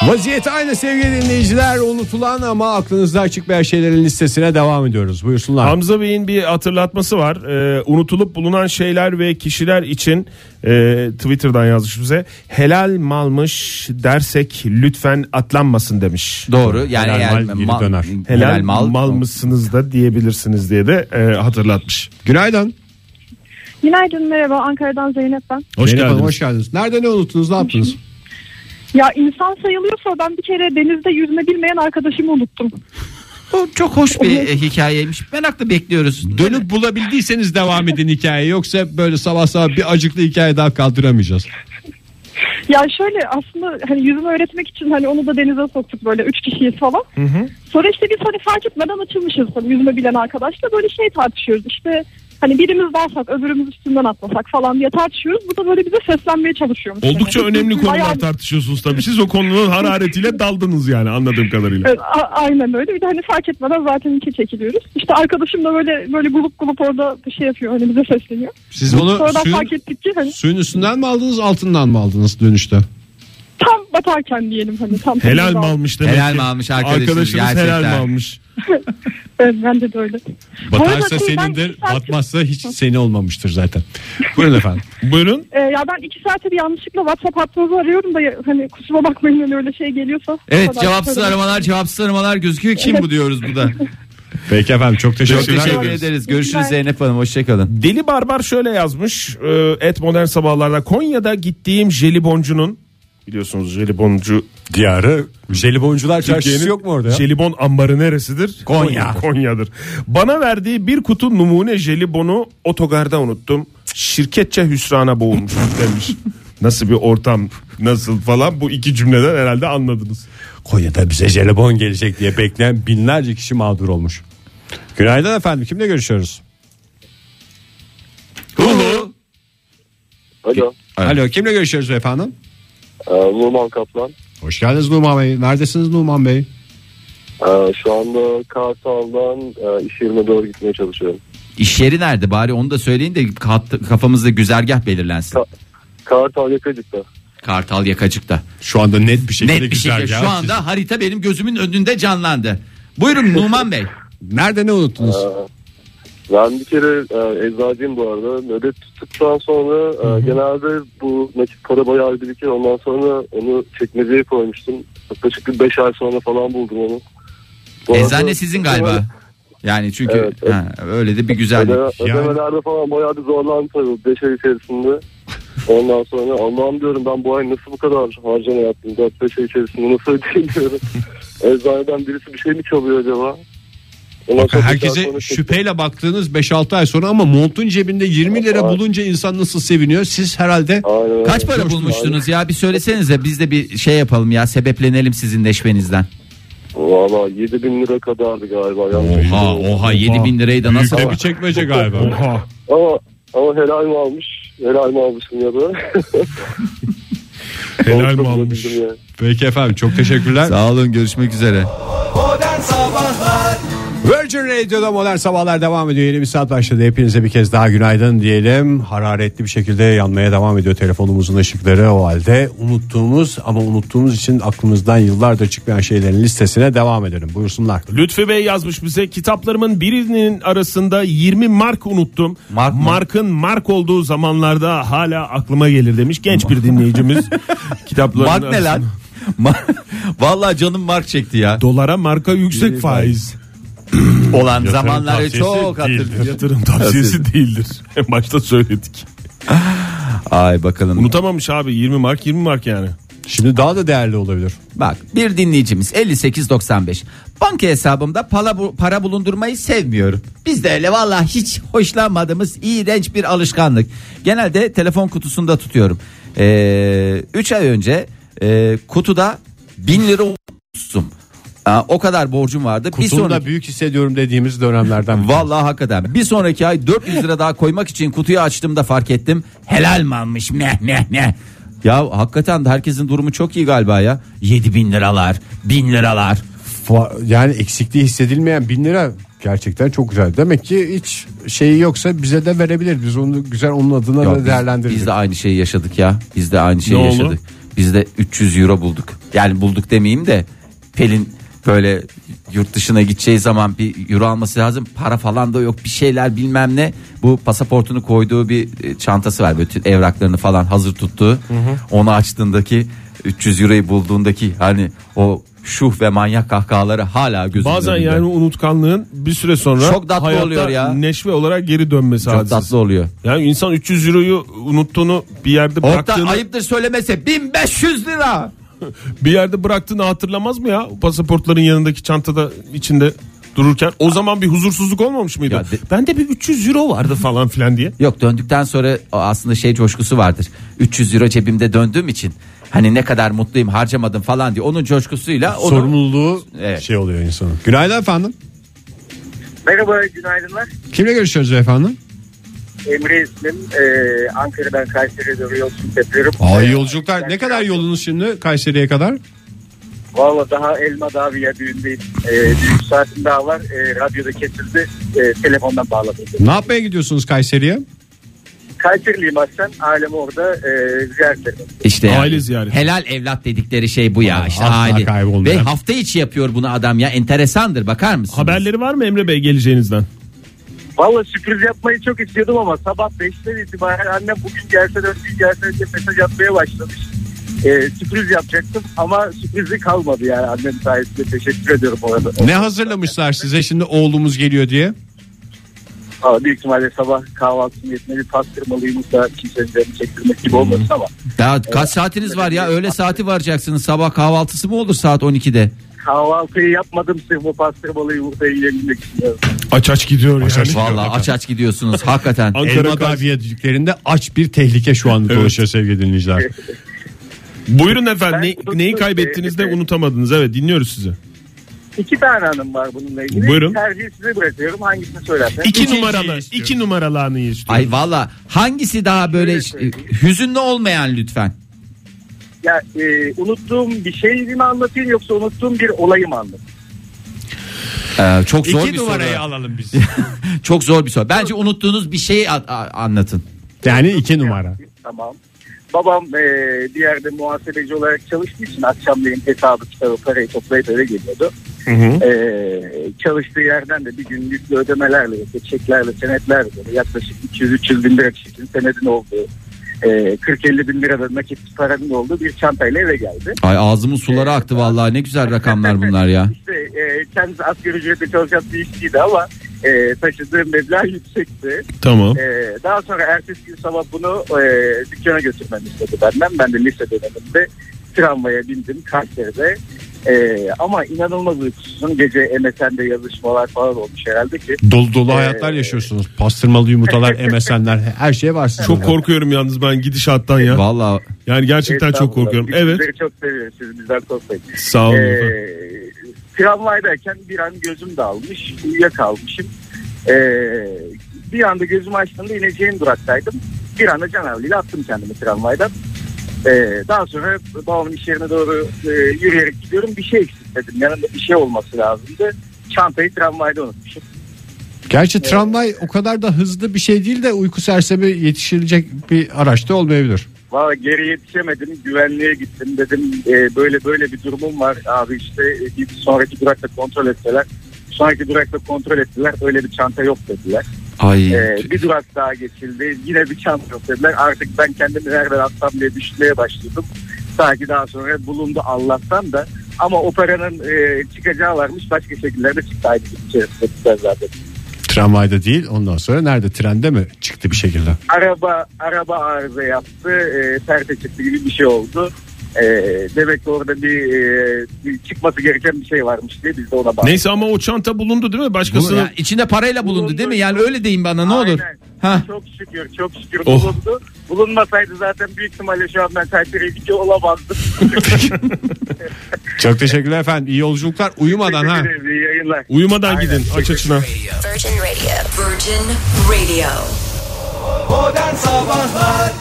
Speaker 3: Vaziyet aynı sevgili dinleyiciler. Unutulan ama aklınızda çıkmayan şeylerin listesine devam ediyoruz. Buyursunlar.
Speaker 4: Hamza Bey'in bir hatırlatması var. Ee, unutulup bulunan şeyler ve kişiler için e, Twitter'dan yazmış bize. Helal malmış dersek lütfen atlanmasın demiş.
Speaker 2: Doğru yani
Speaker 3: Helal
Speaker 2: eğer
Speaker 3: mal geri döner.
Speaker 4: Helal, mal, mısınız da diyebilirsiniz diye de e, hatırlatmış.
Speaker 3: Günaydın.
Speaker 11: Günaydın merhaba Ankara'dan Zeynep ben.
Speaker 4: Hoş
Speaker 3: Zeynep Hanım,
Speaker 4: geldiniz.
Speaker 3: Hoş geldiniz. Nerede ne unuttunuz ne yaptınız?
Speaker 11: Ya insan sayılıyorsa ben bir kere denizde yüzme bilmeyen arkadaşımı unuttum.
Speaker 2: Bu çok hoş bir e, hikayeymiş. Merakla bekliyoruz.
Speaker 3: Dönüp bulabildiyseniz devam edin hikayeyi. Yoksa böyle sabah sabah bir acıklı hikaye daha kaldıramayacağız.
Speaker 11: Ya şöyle aslında hani yüzme öğretmek için hani onu da denize soktuk böyle üç kişiyiz falan. Sonra işte biz hani fark etmeden açılmışız hani yüzme bilen arkadaşla böyle şey tartışıyoruz işte hani birimiz dalsak öbürümüz üstünden atlasak falan diye tartışıyoruz. Bu da böyle bize seslenmeye çalışıyormuş.
Speaker 4: Oldukça
Speaker 11: Hani.
Speaker 4: önemli
Speaker 11: Bayağı-
Speaker 4: konular tartışıyorsunuz tabii. Siz o konunun hararetiyle daldınız yani anladığım kadarıyla.
Speaker 11: Evet, a- aynen öyle. Bir de hani fark etmeden zaten iki çekiliyoruz. İşte arkadaşım da böyle böyle grup grup orada bir şey yapıyor. Hani bize sesleniyor.
Speaker 3: Siz bunu
Speaker 11: Sonradan
Speaker 3: suyun,
Speaker 11: fark ettik ki hani
Speaker 3: suyun üstünden mi aldınız altından mı aldınız dönüşte?
Speaker 11: tam batarken diyelim hani tam.
Speaker 4: Helal mi almış demek
Speaker 2: Helal
Speaker 4: ki?
Speaker 2: mi almış arkadaşınız
Speaker 4: helal mi
Speaker 2: gerçekten?
Speaker 4: almış?
Speaker 11: Evet, bence de öyle. Bu arada
Speaker 3: Batarsa
Speaker 11: şey, ben
Speaker 3: senindir,
Speaker 11: iki saat-
Speaker 3: batmazsa hiç seni olmamıştır zaten. Buyurun efendim.
Speaker 4: Buyurun.
Speaker 11: Ee, ya ben iki saate bir yanlışlıkla WhatsApp hattınızı arıyorum da ya- hani kusura bakmayın hani öyle şey geliyorsa.
Speaker 2: Evet
Speaker 11: Kadar-
Speaker 2: cevapsız aramalar cevapsız aramalar gözüküyor. Kim bu diyoruz bu da.
Speaker 3: Peki efendim çok
Speaker 2: Çok
Speaker 3: teşekkürler.
Speaker 2: teşekkür ederiz. Görüşürüz Zeynep Hanım. Hoşçakalın.
Speaker 4: Deli Barbar şöyle yazmış. e, Et modern sabahlarda Konya'da gittiğim jeliboncunun biliyorsunuz jeliboncu
Speaker 3: Diyarı jeliboncular çarşısı yok mu orada ya?
Speaker 4: Jelibon ambarı neresidir?
Speaker 3: Konya.
Speaker 4: Konya'dır. Bana verdiği bir kutu numune jelibonu otogarda unuttum. Şirketçe hüsrana boğulmuş demiş. Nasıl bir ortam nasıl falan bu iki cümleden herhalde anladınız.
Speaker 3: Konya'da bize jelibon gelecek diye bekleyen binlerce kişi mağdur olmuş. Günaydın efendim kimle görüşüyoruz?
Speaker 9: Alo.
Speaker 3: Alo kimle görüşüyoruz efendim?
Speaker 9: Nurman Kaplan.
Speaker 3: Hoş geldiniz Numan Bey. Neredesiniz Numan Bey?
Speaker 9: Ee, şu anda Kartal'dan e, iş yerine doğru gitmeye çalışıyorum.
Speaker 2: İş yeri nerede bari onu da söyleyin de kat- kafamızda güzergah belirlensin.
Speaker 9: Ka- Kartal Yakacık'ta.
Speaker 2: Kartal yakacıkta.
Speaker 3: Şu anda net bir şekilde
Speaker 2: Net bir şekilde şu anda harita benim gözümün önünde canlandı. Buyurun Numan Bey.
Speaker 3: Nerede ne unuttunuz?
Speaker 9: Ben bir kere e, eczacıyım bu arada. Nöbet tuttuktan sonra e, genelde bu nakit para bayağı bir birikir. Ondan sonra onu çekmeceye koymuştum. Yaklaşık bir 5 ay sonra falan buldum onu. Bu arada-
Speaker 2: Eczane sizin galiba. Yani çünkü
Speaker 9: Evet, evet.
Speaker 2: ha, öyle de bir güzellik.
Speaker 9: Ödeme, ödemelerde falan bayağı bir zorlandım tabii 5 ay içerisinde. Ondan sonra Allah'ım diyorum ben bu ay nasıl bu kadar harcama yaptım 4-5 ay içerisinde nasıl ödeyeyim diyorum. Eczaneden birisi bir şey mi çalıyor acaba? Ondan
Speaker 3: Bakın
Speaker 9: sonra
Speaker 3: herkese
Speaker 9: tekrar sonra çektim.
Speaker 3: şüpheyle baktığınız 5-6 ay sonra ama montun cebinde 20 lira bulunca insan nasıl seviniyor? Siz herhalde
Speaker 9: Aynen öyle.
Speaker 2: Kaç para bulmuştunuz ya bir söylesenize biz de bir şey yapalım ya sebeplenelim sizin neşvenizden.
Speaker 9: Valla 7 bin lira kadardı galiba. yanlış
Speaker 2: Oha
Speaker 9: hatırlamıyorum.
Speaker 2: oha 7 bin lirayı da nasıl
Speaker 3: bir çekmece galiba.
Speaker 4: Oha.
Speaker 9: Ama, ama helal mi almış? Helal mi almışım ya da?
Speaker 4: Helal mi
Speaker 9: Çok
Speaker 4: almış?
Speaker 9: üzüldüm yani.
Speaker 3: Peki efendim çok teşekkürler.
Speaker 2: Sağ olun görüşmek üzere.
Speaker 3: Virgin Radio'da modern sabahlar devam ediyor. Yeni bir saat başladı. Hepinize bir kez daha günaydın diyelim. Hararetli bir şekilde yanmaya devam ediyor telefonumuzun ışıkları. O halde unuttuğumuz ama unuttuğumuz için aklımızdan yıllardır çıkmayan şeylerin listesine devam edelim. Buyursunlar.
Speaker 4: Lütfi Bey yazmış bize kitaplarımın birinin arasında 20 mark unuttum.
Speaker 2: Mark mı?
Speaker 4: Markın mark olduğu zamanlarda hala aklıma gelir demiş genç bir dinleyicimiz. kitaplarının
Speaker 2: Mark ne
Speaker 4: arasında-
Speaker 2: lan? Ma- Vallahi canım mark çekti ya.
Speaker 4: Dolara marka yüksek faiz.
Speaker 2: Olan zamanları çok
Speaker 4: Değildir.
Speaker 2: hatırlıyorum.
Speaker 4: Yatırım tavsiyesi değildir. En başta söyledik.
Speaker 2: Ay bakalım.
Speaker 4: Unutamamış abi 20 mark 20 mark yani.
Speaker 3: Şimdi daha da değerli olabilir.
Speaker 2: Bak bir dinleyicimiz 58.95 banka hesabımda para, bu- para bulundurmayı sevmiyorum. Biz de öyle valla hiç hoşlanmadığımız iğrenç bir alışkanlık. Genelde telefon kutusunda tutuyorum. 3 ay önce e, kutuda 1000 lira unutmuştum. Aa, o kadar borcum vardı. bir
Speaker 3: Kutunu
Speaker 2: sonraki...
Speaker 3: da büyük hissediyorum dediğimiz dönemlerden.
Speaker 2: Vallahi hakikaten. Bir sonraki ay 400 lira daha koymak için kutuyu açtığımda fark ettim. Helal mi almış? Meh meh meh. Ya hakikaten de herkesin durumu çok iyi galiba ya. 7000 bin liralar, bin liralar.
Speaker 3: Fa- yani eksikliği hissedilmeyen bin lira gerçekten çok güzel. Demek ki hiç şeyi yoksa bize de verebilir. Biz onu güzel onun adına
Speaker 2: Ya
Speaker 3: da
Speaker 2: biz,
Speaker 3: değerlendiririz.
Speaker 2: biz de aynı şeyi yaşadık ya. Biz de aynı şeyi
Speaker 4: Ne oldu?
Speaker 2: yaşadık. Biz de 300 euro bulduk. Yani bulduk demeyeyim de Pelin böyle yurt dışına gideceği zaman bir euro alması lazım. Para falan da yok bir şeyler bilmem ne. Bu pasaportunu koyduğu bir e, çantası var. Bütün evraklarını falan hazır tuttuğu. Onu açtığındaki 300 euroyu bulduğundaki hani o şuh ve manyak kahkahaları hala gözümün
Speaker 4: Bazen
Speaker 2: önünde.
Speaker 4: yani unutkanlığın bir süre sonra
Speaker 2: Çok tatlı
Speaker 4: hayatta
Speaker 2: oluyor ya.
Speaker 4: neşve olarak geri dönmesi
Speaker 2: çok
Speaker 4: hadisesi.
Speaker 2: tatlı oluyor.
Speaker 4: Yani insan 300 euroyu unuttuğunu bir yerde
Speaker 2: Orta
Speaker 4: bıraktığını
Speaker 2: ayıptır söylemese 1500 lira.
Speaker 4: bir yerde bıraktığını hatırlamaz mı ya? Pasaportların yanındaki çantada içinde dururken o zaman bir huzursuzluk olmamış mıydı?
Speaker 2: Ya de-
Speaker 4: Bende bir 300 euro vardı falan filan diye.
Speaker 2: Yok döndükten sonra o aslında şey coşkusu vardır. 300 euro cebimde döndüğüm için hani ne kadar mutluyum harcamadım falan diye onun coşkusuyla onu-
Speaker 3: Sorumluluğu
Speaker 2: Evet.
Speaker 3: şey oluyor insanın. Günaydın efendim.
Speaker 9: Merhaba günaydınlar.
Speaker 3: Kimle görüşüyoruz efendim?
Speaker 9: Emre ismim. Ee, Ankara'dan Kayseri'ye doğru yolculuk yapıyorum.
Speaker 3: Aa,
Speaker 9: Ee,
Speaker 3: yolculuklar ne kadar yolunuz şimdi Kayseri'ye kadar?
Speaker 9: Valla daha Elma Dağı Viyadüğü'ndeyim. Ee, düğün saatim daha var. Ee, radyoda kesildi. Ee, telefondan bağladım.
Speaker 3: Ne yapmaya gidiyorsunuz Kayseri'ye?
Speaker 9: Kayseriliyim aslen. Ailem orada. Ee, ziyaret ederim.
Speaker 2: işte yani
Speaker 4: Aile ziyareti.
Speaker 2: Helal evlat dedikleri şey bu ya. İşte
Speaker 3: asla
Speaker 2: aile.
Speaker 3: kaybolmayan.
Speaker 2: Ve hafta içi yapıyor bunu adam ya. Enteresandır bakar mısın?
Speaker 4: Haberleri var mı Emre Bey geleceğinizden?
Speaker 9: Valla sürpriz yapmayı çok istiyordum ama sabah 5'ten itibaren annem bugün gelse de bugün gelse diye mesaj atmaya başlamış. Ee, sürpriz yapacaktım ama sürprizi kalmadı yani annem sayesinde teşekkür ediyorum orada.
Speaker 3: Ne hazırlamışlar size şimdi oğlumuz geliyor diye?
Speaker 9: Valla büyük ihtimalle sabah kahvaltısını yetmeli bir pastırmalı yumurta kimsenin canını çektirmek gibi olmasın ama
Speaker 2: Daha kaç saatiniz var ya? Öğle saati varacaksınız. Sabah kahvaltısı mı olur saat 12'de?
Speaker 9: kahvaltıyı yapmadım sırf o pastırmalı yumurtayı yiyebilmek için.
Speaker 4: Aç aç gidiyor yani.
Speaker 2: Vallahi aç aç gidiyorsunuz hakikaten.
Speaker 4: Ankara
Speaker 3: Elma
Speaker 4: Kayseri-
Speaker 3: Dağı viyadüklerinde aç bir tehlike şu anda
Speaker 4: Evet.
Speaker 3: dolaşıyor sevgili dinleyiciler.
Speaker 4: Buyurun efendim
Speaker 9: Ben-
Speaker 4: ne- neyi kaybettiniz de
Speaker 9: Evet.
Speaker 4: unutamadınız. Evet dinliyoruz sizi.
Speaker 9: İki tane anım var bununla ilgili.
Speaker 4: Buyurun.
Speaker 9: Tercihi size bırakıyorum. Hangisini söylerseniz.
Speaker 4: İki
Speaker 3: İkinciyi
Speaker 4: numaralı,
Speaker 3: istiyorum.
Speaker 4: iki numaralı anıyı istiyorum.
Speaker 2: Ay valla hangisi daha böyle ş- hüzünlü olmayan lütfen.
Speaker 9: Ya, e, unuttuğum bir şey mi anlatayım yoksa unuttuğum bir olayı mı anlatayım?
Speaker 2: Ee, çok zor
Speaker 3: İki
Speaker 2: bir soru.
Speaker 3: numarayı alalım biz.
Speaker 2: Çok zor bir soru. Bence unuttuğunuz bir şeyi a- a- anlatın.
Speaker 3: yani iki numara.
Speaker 9: Tamam. Babam e, bir yerde muhasebeci olarak çalıştığı için akşamleyin hesabı kitabı parayı toplayıp eve geliyordu. E, çalıştığı yerden de bir gün yüklü ödemelerle, işte çeklerle, senetlerle böyle yaklaşık 200-300 bin lira çekin senedin olduğu, e, 40-50 bin lira da nakit paranın olduğu bir çantayla eve geldi.
Speaker 2: Ay ağzımın suları aktı vallahi ne güzel rakamlar bunlar ya.
Speaker 9: İşte e, kendisi asgari ücretle çalışan bir işçiydi ama e, taşıdığı meblağ yüksekti.
Speaker 4: Tamam.
Speaker 9: Ee, daha sonra ertesi gün sabah bunu e, dükkana götürmemi istedi benden. Ben de lise döneminde tramvaya bindim Kayseri'de. Ee, ama inanılmaz uykusuzum. Gece MSN'de yazışmalar falan olmuş herhalde ki.
Speaker 3: Dolu dolu
Speaker 9: Ee,
Speaker 3: hayatlar yaşıyorsunuz. Pastırmalı yumurtalar, MSN'ler her şey var. sizin
Speaker 4: Çok
Speaker 3: de.
Speaker 4: korkuyorum yalnız ben gidişattan ya.
Speaker 2: Vallahi
Speaker 4: Yani gerçekten çok
Speaker 9: Estağfurullah.
Speaker 4: korkuyorum.
Speaker 9: Biz
Speaker 4: Evet.
Speaker 9: Sizleri çok seviyoruz. Siz bizden korkmayın.
Speaker 4: Sağ olun. efendim.
Speaker 9: Ee, tramvaydayken bir an gözüm dalmış. Uyuyakalmışım. Ee, bir anda gözümü açtığımda ineceğim duraktaydım. Bir anda canavliyle attım kendimi tramvaydan. Ee, daha sonra babamın iş yerine doğru e, yürüyerek gidiyorum. Bir şey eksik dedim. Yanımda bir şey olması lazımdı. Çantayı tramvayda unutmuşum.
Speaker 3: Gerçi tramvay o kadar da hızlı bir şey değil de uyku sersemi yetişilecek bir araç da olmayabilir.
Speaker 9: Valla geri yetişemedim. Güvenliğe gittim. Dedim e, böyle böyle bir durumum var abi işte. E, bir sonraki durakta kontrol ettiler. Sonraki durakta kontrol ettiler. Öyle bir çanta yok dediler.
Speaker 2: ay
Speaker 9: Ee, bir durak daha geçildi. Yine bir çanta yok dediler. Artık ben kendimi nereden atsam diye düşünmeye başladım. Sanki daha sonra bulundu Allah'tan da. Ama operanın e, çıkacağı varmış. Başka şekillerde çıktı aynı şey gün içerisinde bizler zaten.
Speaker 3: Tramvayda değil ondan sonra nerede trende mi çıktı bir şekilde.
Speaker 9: Araba, araba arıza yaptı. E, perde çıktı gibi bir şey oldu. E, demek ki orada bir, e, bir çıkması gereken bir şey varmış diye biz de ona baktık.
Speaker 4: Neyse ama o çanta bulundu değil mi?
Speaker 2: Bunu
Speaker 4: Başkasının
Speaker 2: ya, içinde parayla bulundu değil mi? Yani öyle deyin bana ne olur.
Speaker 9: Aynen.
Speaker 2: Ha.
Speaker 9: Çok şükür çok şükür
Speaker 4: Oh.
Speaker 9: bulundu. Bulunmasaydı zaten büyük ihtimalle şu an ben Kayseri'ye gidiyor olamazdım.
Speaker 3: Çok teşekkürler efendim. İyi yolculuklar uyumadan ha.
Speaker 9: Teşekkür ederim, iyi yayınlar.
Speaker 4: uyumadan gidin aç açına.
Speaker 12: Virgin Radio. Virgin Radio.
Speaker 7: Modern Sabahlar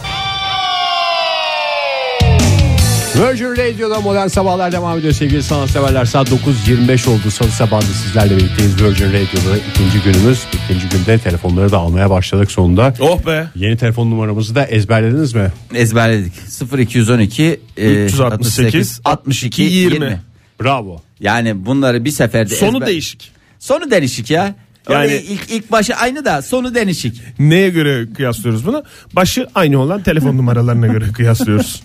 Speaker 3: Virgin Radio'da modern sabahlar devam ediyor sevgili sanatseverler. Saat 9.25 oldu. Salı sabahında sizlerle birlikteyiz Virgin Radio'da ikinci günümüz. İkinci günde telefonları da almaya başladık sonunda.
Speaker 4: Oh be.
Speaker 3: Yeni telefon numaramızı da ezberlediniz mi?
Speaker 2: Ezberledik. 0212 e,
Speaker 4: 368,
Speaker 2: 62
Speaker 4: 20.
Speaker 2: 20.
Speaker 3: Bravo.
Speaker 2: Yani bunları bir seferde
Speaker 4: Sonu
Speaker 2: ezber-
Speaker 4: değişik.
Speaker 2: Sonu değişik ya. Yani
Speaker 4: Yani-
Speaker 2: ilk ilk başı aynı da sonu değişik.
Speaker 4: Neye göre kıyaslıyoruz bunu? Başı aynı olan telefon numaralarına göre kıyaslıyoruz.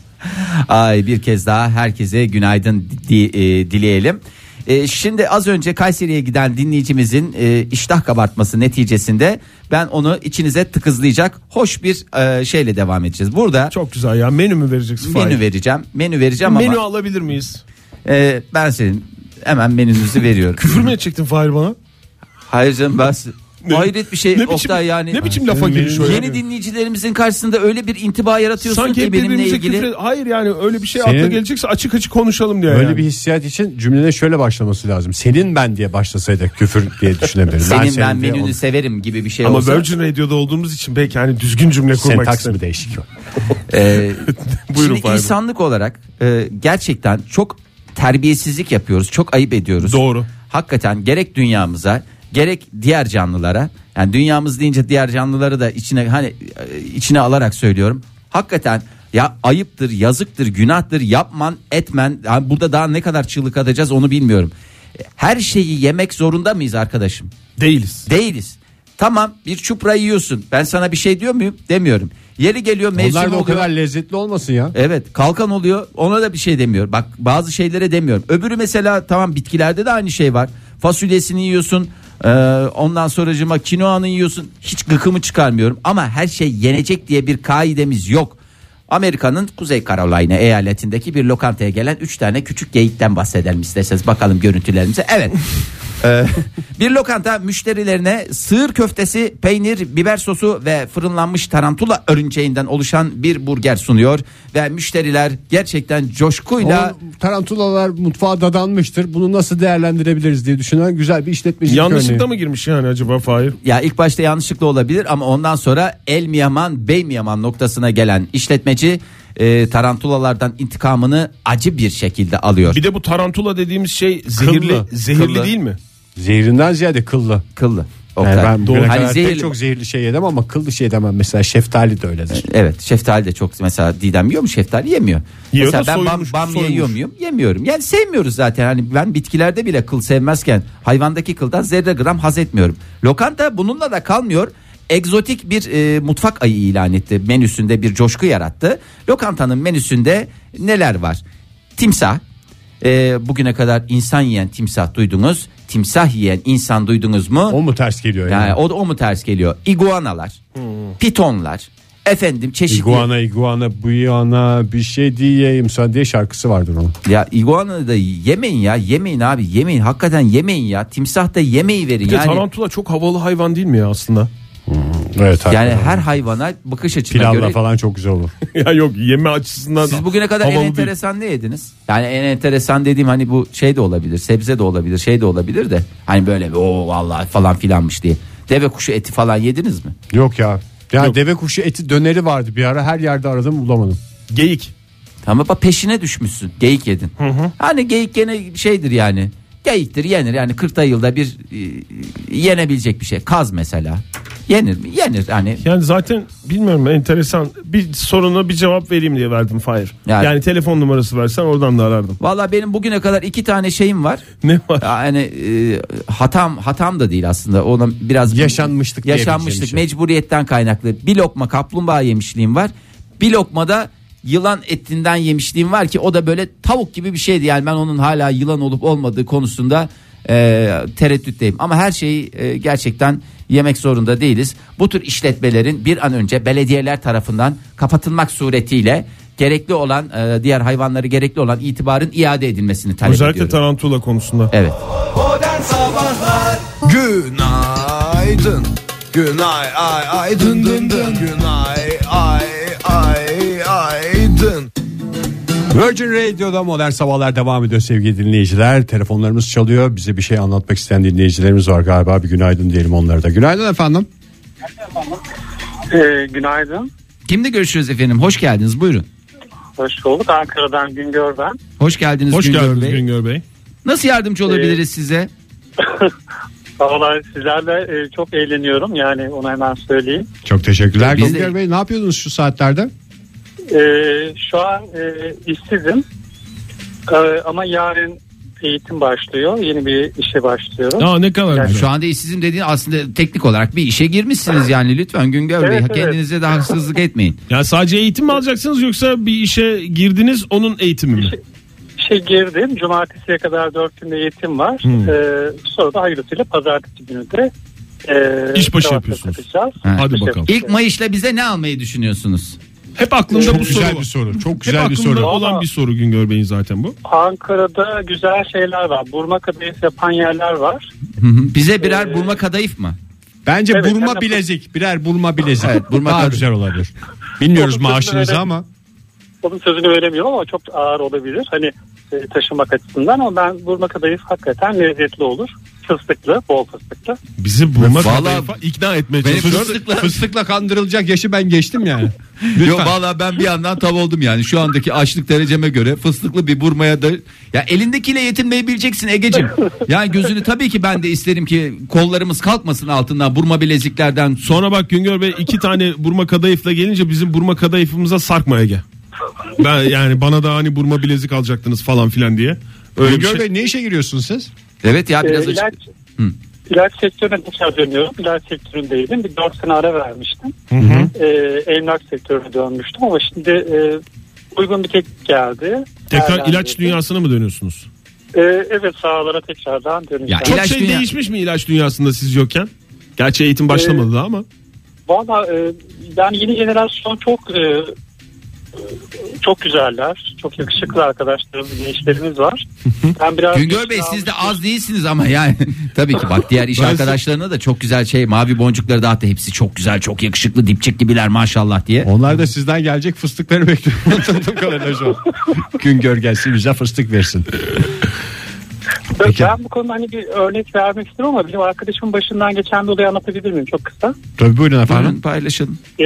Speaker 2: Ay bir kez daha herkese günaydın di- e, dileyelim. E, şimdi az önce Kayseri'ye giden dinleyicimizin e, iştah kabartması neticesinde ben onu içinize tıkızlayacak hoş bir e, şeyle devam edeceğiz. Burada
Speaker 4: Çok güzel ya. Menü mü vereceksin? Fahir?
Speaker 2: menü vereceğim. Menü vereceğim
Speaker 4: Menü
Speaker 2: ama
Speaker 4: alabilir miyiz?
Speaker 2: e, ben senin hemen menünüzü veriyorum.
Speaker 4: Küfür mü edecektin Fahir bana?
Speaker 2: Hayır canım ben hayret bir şey
Speaker 4: ne biçim-
Speaker 2: Oktay yani.
Speaker 4: ne biçim lafa giriş o
Speaker 2: Yeni
Speaker 4: yani?
Speaker 2: dinleyicilerimizin karşısında öyle bir intiba yaratıyorsun
Speaker 4: Sanki
Speaker 2: ki
Speaker 4: hep
Speaker 2: benimle
Speaker 4: birbirimize
Speaker 2: ilgili.
Speaker 4: küfür ed- Hayır yani öyle bir şey
Speaker 3: Senin-
Speaker 4: akla gelecekse açık açık konuşalım diye.
Speaker 3: Böyle
Speaker 4: yani.
Speaker 3: bir hissiyat için cümlene şöyle başlaması lazım. Senin ben diye başlasaydık küfür diye düşünebilirim.
Speaker 2: Senin ben,
Speaker 3: diye
Speaker 2: menünü
Speaker 3: onu-
Speaker 2: severim gibi bir şey
Speaker 4: Ama
Speaker 2: olsa.
Speaker 4: Virgin Radio'da olduğumuz için belki hani düzgün cümle kurmak
Speaker 3: Sentaks mı
Speaker 4: istedim.
Speaker 3: değişik?
Speaker 2: Ee,
Speaker 4: Buyurun
Speaker 2: şimdi
Speaker 4: Fahir Bey.
Speaker 2: insanlık olarak e, gerçekten çok terbiyesizlik yapıyoruz. Çok ayıp ediyoruz.
Speaker 4: Doğru.
Speaker 2: Hakikaten gerek dünyamıza gerek diğer canlılara yani dünyamız deyince diğer canlıları da içine hani e, içine alarak söylüyorum. Hakikaten ya ayıptır, yazıktır, günahtır yapman, etmen. Yani burada daha ne kadar çığlık atacağız onu bilmiyorum. E, Her şeyi yemek zorunda mıyız arkadaşım?
Speaker 4: Değiliz.
Speaker 2: Değiliz. Tamam bir çupra yiyorsun. Ben sana bir şey diyor muyum? Demiyorum. Yeri geliyor mevsim
Speaker 3: Onlar da o
Speaker 2: oluyor.
Speaker 3: kadar lezzetli olmasın ya.
Speaker 2: Evet kalkan oluyor ona da bir şey demiyor. Bak bazı şeylere demiyorum. Öbürü mesela tamam bitkilerde de aynı şey var. Fasulyesini yiyorsun. e, ondan sonracıma kinoanı yiyorsun. Hiç gıkımı çıkarmıyorum. Ama her şey yenecek diye bir kaidemiz yok. Amerika'nın Kuzey Carolina eyaletindeki bir lokantaya gelen 3 tane küçük geyikten bahsedelim isterseniz bakalım görüntülerimize. Evet. Ee, bir lokanta müşterilerine sığır köftesi, peynir, biber sosu ve fırınlanmış tarantula örümceğinden oluşan bir burger sunuyor ve müşteriler gerçekten coşkuyla
Speaker 3: Onun tarantulalar mutfağa dadanmıştır. Bunu nasıl değerlendirebiliriz diye düşünen güzel bir işletmeci.
Speaker 4: Yanlışlıkla mı girmiş yani acaba Fahir?
Speaker 2: ya ilk başta yanlışlıkla olabilir ama ondan sonra el mi yaman bey mi yaman noktasına gelen işletmeci e, tarantulalardan intikamını acı bir şekilde alıyor.
Speaker 4: Bir de bu tarantula dediğimiz şey zehirli
Speaker 3: Kıllı.
Speaker 4: zehirli
Speaker 2: Kıllı.
Speaker 4: değil mi?
Speaker 3: Zehirinden ziyade kıllı.
Speaker 2: Kıllı.
Speaker 3: Yani
Speaker 2: Oktay.
Speaker 3: ben bugüne
Speaker 2: Hani
Speaker 3: kadar
Speaker 2: zehirli-
Speaker 3: pek çok zehirli şey yedim ama kıllı şey demem. Mesela şeftali de öyledir.
Speaker 2: Evet şeftali de çok mesela Didem yiyor mu şeftali yemiyor.
Speaker 4: Yiyor
Speaker 2: mesela
Speaker 4: da
Speaker 2: ben bam,
Speaker 4: soyulmuş,
Speaker 2: bamya
Speaker 4: soyulmuş.
Speaker 2: yiyor muyum? Yemiyorum. Yani sevmiyoruz zaten. Hani ben bitkilerde bile kıl sevmezken hayvandaki kıldan zerre gram haz etmiyorum. Lokanta bununla da kalmıyor. Egzotik bir e, mutfak ayı ilan etti. Menüsünde bir coşku yarattı. Lokantanın menüsünde neler var? Timsah. E, bugüne kadar insan yiyen timsah duydunuz. Timsah yiyen insan duydunuz mu?
Speaker 3: O mu ters geliyor yani?
Speaker 2: Yani o, o mu ters geliyor? İguanalar, pitonlar, efendim çeşitli.
Speaker 3: İguana iguana bu yana bir şey diyeyim sana diye şarkısı vardır onun.
Speaker 2: Ya iguana da yemeyin ya yemeyin abi yemeyin hakikaten yemeyin ya timsah da yemeği verin
Speaker 4: Bir de
Speaker 2: yani.
Speaker 4: tarantula çok havalı hayvan değil mi ya aslında?
Speaker 3: Evet
Speaker 2: Yani her hayvana bakış açına
Speaker 3: pilavla
Speaker 2: göre.
Speaker 3: falan çok güzel olur.
Speaker 4: ya yok yeme açısından
Speaker 2: Siz bugüne kadar en
Speaker 4: havalı değil.
Speaker 2: enteresan ne yediniz? Yani en enteresan dediğim hani bu şey de olabilir, sebze de olabilir, şey de olabilir de hani böyle bir, o vallahi falan filanmış diye. Deve kuşu eti falan yediniz mi?
Speaker 3: Yok ya. Yani
Speaker 4: Yok.
Speaker 3: deve kuşu eti döneri vardı bir ara her yerde aradım bulamadım.
Speaker 4: Geyik.
Speaker 2: Tamam bak peşine düşmüşsün. Geyik yedin. Hani geyik gene şeydir yani. Geyiktir yenir yani 40 yılda bir e, yenebilecek bir şey. Kaz mesela. Yenir mi? Yenir hani.
Speaker 4: Yani zaten bilmiyorum enteresan bir soruna bir cevap vereyim diye verdim Fahir.
Speaker 2: Yani-
Speaker 4: Yani, telefon numarası versen oradan da arardım.
Speaker 2: Valla benim bugüne kadar iki tane şeyim var.
Speaker 4: Ne var?
Speaker 2: Yani e, hatam hatam da değil aslında. Ona biraz
Speaker 3: Yaşanmışlık
Speaker 2: yaşanmışlık
Speaker 3: diyebileceğim şey.
Speaker 2: mecburiyetten kaynaklı. Bir lokma kaplumbağa yemişliğim var. Bir lokma da yılan etinden yemişliğim var ki o da böyle tavuk gibi bir şeydi. Yani ben onun hala yılan olup olmadığı konusunda e, tereddütteyim. Ama her şeyi e, gerçekten yemek zorunda değiliz. Bu tür işletmelerin bir an önce belediyeler tarafından kapatılmak suretiyle gerekli olan e, diğer hayvanları gerekli olan itibarın iade edilmesini talep
Speaker 4: Özellikle
Speaker 2: ediyorum.
Speaker 4: tarantula konusunda.
Speaker 2: evet.
Speaker 7: Günaydın. Günay ay ay dın dın dın. Günay ay ay ay dın.
Speaker 3: Virgin Radio'da modern sabahlar devam ediyor sevgili dinleyiciler. Telefonlarımız çalıyor. Bize bir şey anlatmak isteyen dinleyicilerimiz var galiba. Bir günaydın diyelim onlara da. Günaydın efendim.
Speaker 9: Ee, günaydın.
Speaker 2: Kimle görüşüyoruz efendim? Hoş geldiniz. Buyurun.
Speaker 13: Hoş bulduk. Ankara'dan Güngör ben.
Speaker 2: Hoş geldiniz
Speaker 4: Hoş
Speaker 2: Güngör
Speaker 4: geldiniz
Speaker 2: Bey.
Speaker 4: Güngör Bey.
Speaker 2: Nasıl yardımcı olabiliriz size?
Speaker 13: Vallahi sizlerle e, çok eğleniyorum. Yani onu hemen söyleyeyim.
Speaker 3: Çok teşekkürler.
Speaker 2: Biz de-
Speaker 3: Güngör Bey ne yapıyordunuz şu saatlerde?
Speaker 13: E, şu an e, işsizim. E, ama yarın eğitim başlıyor. Yeni bir işe başlıyorum.
Speaker 4: Aa ne kadar
Speaker 2: Yani
Speaker 4: güzel.
Speaker 2: şu anda işsizim dediğin aslında teknik olarak bir işe girmişsiniz yani lütfen Güngör Bey
Speaker 13: Evet, evet.
Speaker 2: kendinize de haksızlık etmeyin.
Speaker 4: Ya sadece eğitim mi alacaksınız yoksa bir işe girdiniz onun eğitimi mi?
Speaker 13: İşe girdim. Cumartesiye kadar 4 günde eğitim var.
Speaker 4: Hmm.
Speaker 13: E, sonra da hayırlısıyla pazartesi günü de e,
Speaker 4: İşbaşı
Speaker 13: Sivas'a
Speaker 4: yapıyorsunuz.
Speaker 13: katılacağız.
Speaker 2: Ha.
Speaker 4: Hadi
Speaker 13: İşte-
Speaker 4: bakalım.
Speaker 2: İlk Mayış'la bize ne almayı düşünüyorsunuz?
Speaker 4: Hep aklımda
Speaker 14: Çok
Speaker 4: bu
Speaker 14: güzel
Speaker 4: soru.
Speaker 14: bir soru. Çok
Speaker 4: Hep
Speaker 14: güzel bir
Speaker 4: aklımda
Speaker 14: soru.
Speaker 4: olan bir soru Güngör Bey'in zaten bu.
Speaker 13: Ankara'da güzel şeyler var. Burma kadayıf yapan yerler var.
Speaker 2: Hı hı. bize birer
Speaker 13: Ee,
Speaker 2: burma kadayıf mı?
Speaker 3: Bence
Speaker 13: Evet,
Speaker 3: burma
Speaker 13: ben de-
Speaker 3: bilezik. Birer burma bilezik.
Speaker 2: Evet, burma
Speaker 3: Daha
Speaker 2: kadar-
Speaker 3: güzel olabilir. Bilmiyoruz
Speaker 13: Onun dışında
Speaker 3: maaşınızı
Speaker 13: öyle-
Speaker 3: ama.
Speaker 13: Onun sözünü veremiyorum ama çok ağır olabilir. Hani e, taşımak açısından ama ben burma kadayıf hakikaten lezzetli olur. Fıstıklı, bol fıstıklı.
Speaker 4: Bizi bulmak
Speaker 2: Vallahi-
Speaker 4: kadayıfa ikna etmeye
Speaker 2: Benim
Speaker 4: çalışıyor.
Speaker 2: fıstıkla-
Speaker 3: Fıstıkla kandırılacak yaşı ben geçtim yani.
Speaker 2: Yok valla ben bir yandan tav oldum yani şu andaki açlık dereceme göre fıstıklı bir burmaya da ya elindekiyle yetinmeyi bileceksin Egeciğim. Yani gözünü tabii ki ben de isterim ki kollarımız kalkmasın altından burma bileziklerden sonra
Speaker 4: Sonra bak Güngör Bey iki tane burma kadayıfla gelince bizim burma kadayıfımıza sarkma Ege. Ben yani bana da hani burma bilezik alacaktınız falan filan diye. Öyle bir
Speaker 3: Güngör
Speaker 4: şey.
Speaker 3: Bey ne işe giriyorsunuz siz?
Speaker 2: Evet ya
Speaker 13: E,
Speaker 9: Ee,
Speaker 2: biraz açık.
Speaker 13: ilaç, ilaç sektörüne tekrar dönüyorum. İlaç sektöründeydim. Bir 4 sene ara vermiştim. E, emlak sektörüne dönmüştüm ama şimdi e, uygun bir teklif geldi.
Speaker 4: Tekrar
Speaker 13: Değerlendirdim.
Speaker 4: ilaç dünyasına mı dönüyorsunuz?
Speaker 13: E, evet sağlara tekrardan döneceğim.
Speaker 2: Ya
Speaker 4: Çok
Speaker 2: İlaç
Speaker 4: şey
Speaker 2: dünya-
Speaker 4: değişmiş mi ilaç dünyasında siz yokken? Gerçi eğitim başlamadı daha ama.
Speaker 13: Valla e, yani yeni jenerasyon çok e, e, çok güzeller. Çok yakışıklı arkadaşlarımız, gençlerimiz var. Ben biraz
Speaker 2: Güngör
Speaker 9: şey
Speaker 2: Bey siz de az değilsiniz ama yani tabii ki bak diğer iş arkadaşlarına da çok güzel şey mavi boncukları dağıttı hepsi çok güzel çok yakışıklı dipçik gibiler maşallah diye.
Speaker 3: Onlar da sizden gelecek fıstıkları bekliyor. Tanıdığım kadarıyla şu an. Güngör gelsin bize fıstık versin.
Speaker 13: Peki. Ben bu konuda hani bir örnek vermek istiyorum ama benim arkadaşımın başından geçen bir olayı anlatabilir miyim çok kısa?
Speaker 3: Tabii buyurun efendim.
Speaker 2: Buyurun paylaşın.
Speaker 13: Ee,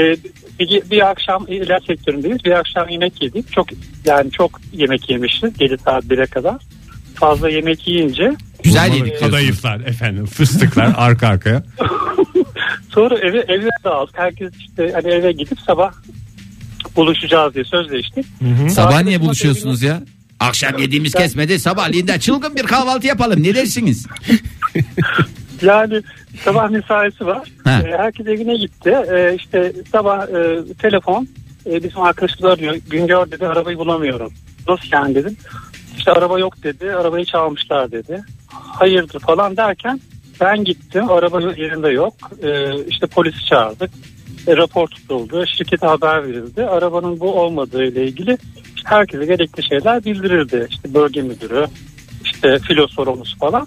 Speaker 13: bir, bir akşam ilaç sektöründeyiz. Bir akşam yemek yedik. Çok yani çok yemek yemişiz. 7 saat 1'e kadar. Fazla yemek yiyince
Speaker 2: Güzel
Speaker 3: Burma ve
Speaker 2: yedik diyorsunuz.
Speaker 3: Kadayıflar efendim fıstıklar arka arkaya.
Speaker 13: Sonra eve eve dağıldık. Herkes işte hani eve gidip sabah buluşacağız diye sözleştik.
Speaker 2: Sabah niye buluşuyorsunuz ya? Akşam yediğimiz kesmedi sabahleyin de çılgın bir kahvaltı yapalım ne dersiniz?
Speaker 13: Yani sabah mesaisi var.
Speaker 2: Ha.
Speaker 13: Ee, Herkes evine gitti. Ee, işte sabah e, telefon e, bizim arkadaşımız arıyor. Güngör dedi arabayı bulamıyorum. Nasıl yani dedim. İşte araba yok dedi. Arabayı çalmışlar dedi. Hayırdır falan derken ben gittim. Araba yerinde yok. Ee, işte polisi çağırdık. E, rapor tutuldu. Şirkete haber verildi. Arabanın bu olmadığı ile ilgili işte herkese gerekli şeyler bildirildi. İşte bölge müdürü, işte filo sorumlusu falan.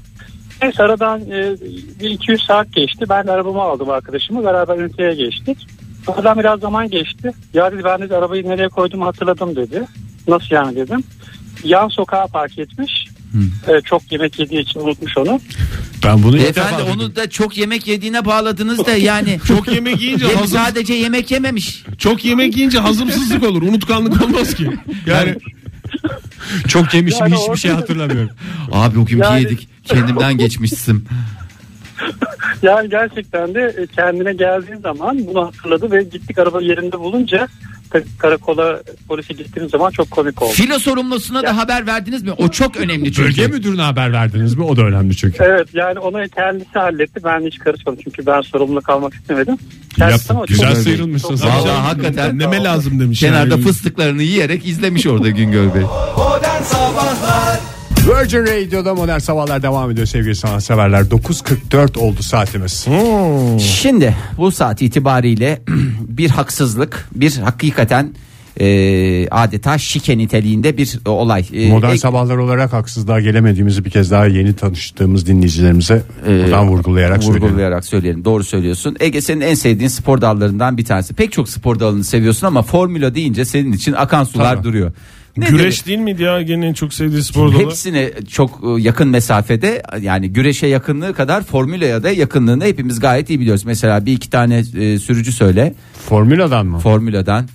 Speaker 13: Neyse aradan e, bir iki üç saat geçti. Ben de arabamı aldım arkadaşımı. Beraber üniteye geçtik. Aradan biraz zaman geçti. Ya dedi ben dedi arabayı nereye koyduğumu hatırladım dedi. Nasıl yani dedim. Yan sokağa park etmiş. E, çok yemek yediği için unutmuş onu.
Speaker 3: Ben bunu ilk
Speaker 2: Efendi
Speaker 3: defa
Speaker 2: onu da çok yemek yediğine bağladınız da yani.
Speaker 4: Çok yemek yiyince
Speaker 2: Hep
Speaker 4: hazır,
Speaker 2: sadece yemek yememiş.
Speaker 4: çok yemek yiyince hazımsızlık olur. Unutkanlık olmaz ki. Yani
Speaker 3: çok yemişim
Speaker 13: Yani
Speaker 3: hiçbir
Speaker 13: orada-
Speaker 3: şey hatırlamıyorum.
Speaker 2: Abi o günkü
Speaker 13: Yani-
Speaker 2: yedik. Kendimden geçmişsin.
Speaker 13: Yani gerçekten de e, kendine geldiği zaman bunu hatırladı ve gittik araba yerinde bulunca tabii karakola polise gittiğim zaman çok komik oldu.
Speaker 2: Filo sorumlusuna da haber verdiniz mi? O çok önemli çünkü.
Speaker 3: Bölge müdürüne haber verdiniz mi? O da önemli çünkü.
Speaker 13: Evet yani onu kendisi halletti. Ben hiç karışmadım çünkü ben sorumlu kalmak istemedim. Kendisi ama çok-
Speaker 3: Güzel
Speaker 13: çok-
Speaker 3: sıyrılmışsınız.
Speaker 13: çok-
Speaker 2: Vallahi hakikaten
Speaker 4: neme lazım demiş.
Speaker 2: Kenarda
Speaker 4: yani.
Speaker 2: fıstıklarını yiyerek izlemiş orada Güngör Bey.
Speaker 3: Virgin Radio'da modern sabahlar devam ediyor sevgili sanatseverler. 9.44 oldu saatimiz.
Speaker 2: Şimdi bu saat itibariyle bir haksızlık, bir hakikaten e, adeta şike niteliğinde bir olay. E,
Speaker 3: Modern
Speaker 2: e,
Speaker 3: sabahlar olarak haksızlığa gelemediğimizi bir kez daha yeni tanıştığımız dinleyicilerimize
Speaker 2: Ee,
Speaker 3: buradan vurgulayarak söyleyelim.
Speaker 2: Vurgulayarak söyleyelim. Doğru söylüyorsun. Ege senin en sevdiğin spor dallarından bir tanesi. Pek çok spor dalını seviyorsun ama formüla deyince senin için akan sular
Speaker 3: Tabii.
Speaker 2: duruyor. Ne
Speaker 4: Güreş değil miydi ya gene en çok sevdiği spor dalı?
Speaker 2: Hepsine çok e, yakın mesafede yani güreşe yakınlığı kadar formülaya da yakınlığını hepimiz gayet iyi biliyoruz. Mesela bir iki tane e, sürücü söyle
Speaker 3: Formüladan mı?
Speaker 2: formüladan.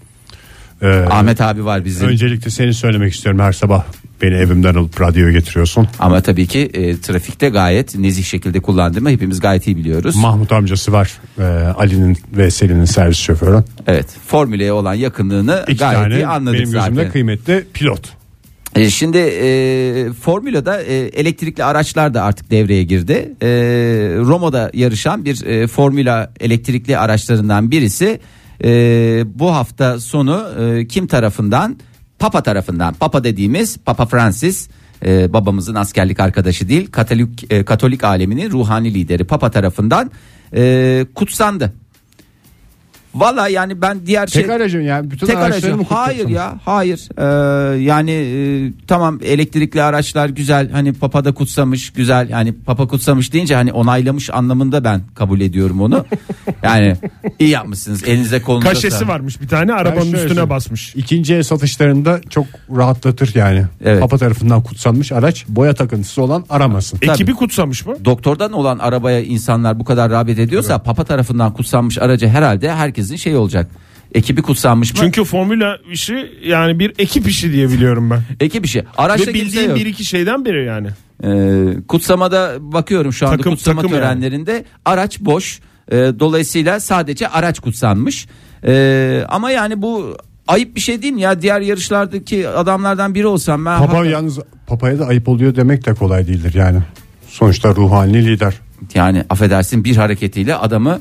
Speaker 3: Ee,
Speaker 2: Ahmet abi var bizim.
Speaker 3: Öncelikle seni söylemek istiyorum her sabah beni evimden alıp radyoya getiriyorsun.
Speaker 2: Ama tabii ki e, trafikte gayet nezih şekilde kullandığımı hepimiz gayet iyi biliyoruz.
Speaker 3: Mahmut amcası var ee, Ali'nin ve Selin'in servis şoförü.
Speaker 2: evet. Formüleye olan yakınlığını
Speaker 3: İki
Speaker 2: gayet iyi
Speaker 3: tane
Speaker 2: anladık
Speaker 3: benim gözümde
Speaker 2: zaten.
Speaker 3: kıymetli pilot.
Speaker 2: E, şimdi e, formülada e, elektrikli araçlar da artık devreye girdi. E, Roma'da yarışan bir e, formüla elektrikli araçlarından birisi e, bu hafta sonu e, kim tarafından? Papa tarafından. Papa dediğimiz Papa Francis e, babamızın askerlik arkadaşı değil Katolik e, Katolik aleminin ruhani lideri Papa tarafından e, kutsandı. Valla yani ben diğer şey...
Speaker 3: Tek aracın yani bütün
Speaker 2: Tek
Speaker 3: araçları
Speaker 2: aracı.
Speaker 3: mı kutluyorsun?
Speaker 2: Hayır ya hayır. Ee, yani e, tamam elektrikli araçlar güzel hani papa da kutsamış güzel yani papa kutsamış deyince hani onaylamış anlamında ben kabul ediyorum onu. yani iyi yapmışsınız elinize kolunuza.
Speaker 4: Kaşesi
Speaker 2: sağlık.
Speaker 4: varmış bir tane
Speaker 3: Ben
Speaker 4: arabanın
Speaker 3: şöyle
Speaker 4: üstüne
Speaker 3: söyleyeyim.
Speaker 4: basmış.
Speaker 3: İkinci el satışlarında çok rahatlatır yani.
Speaker 2: Evet.
Speaker 3: Papa tarafından kutsanmış araç boya takıntısı olan aramasın.
Speaker 2: E,
Speaker 4: Ekibi kutsamış mı?
Speaker 2: Doktordan olan arabaya insanlar bu kadar rağbet ediyorsa papa tarafından kutsanmış aracı herhalde herkesin şey olacak. Ekibi kutsanmış mı?
Speaker 4: Çünkü formula işi yani bir ekip işi diye biliyorum ben.
Speaker 2: ekip işi. Araçta
Speaker 4: Ve
Speaker 2: şey, kimse
Speaker 4: bildiğim
Speaker 2: yok.
Speaker 4: bir iki şeyden biri yani.
Speaker 2: Ee, kutsamada bakıyorum şu anda
Speaker 4: Takım-
Speaker 2: kutsama
Speaker 4: takım yani.
Speaker 2: törenlerinde araç boş. Ee, dolayısıyla sadece araç kutsanmış. Ee, ama yani bu ayıp bir şey değil mi ya? Diğer yarışlardaki adamlardan biri olsam ben
Speaker 3: Papa
Speaker 2: hakikaten-
Speaker 3: yalnız papaya da ayıp oluyor demek de kolay değildir yani. Sonuçta ruhani lider.
Speaker 2: yani affedersin bir hareketiyle adamı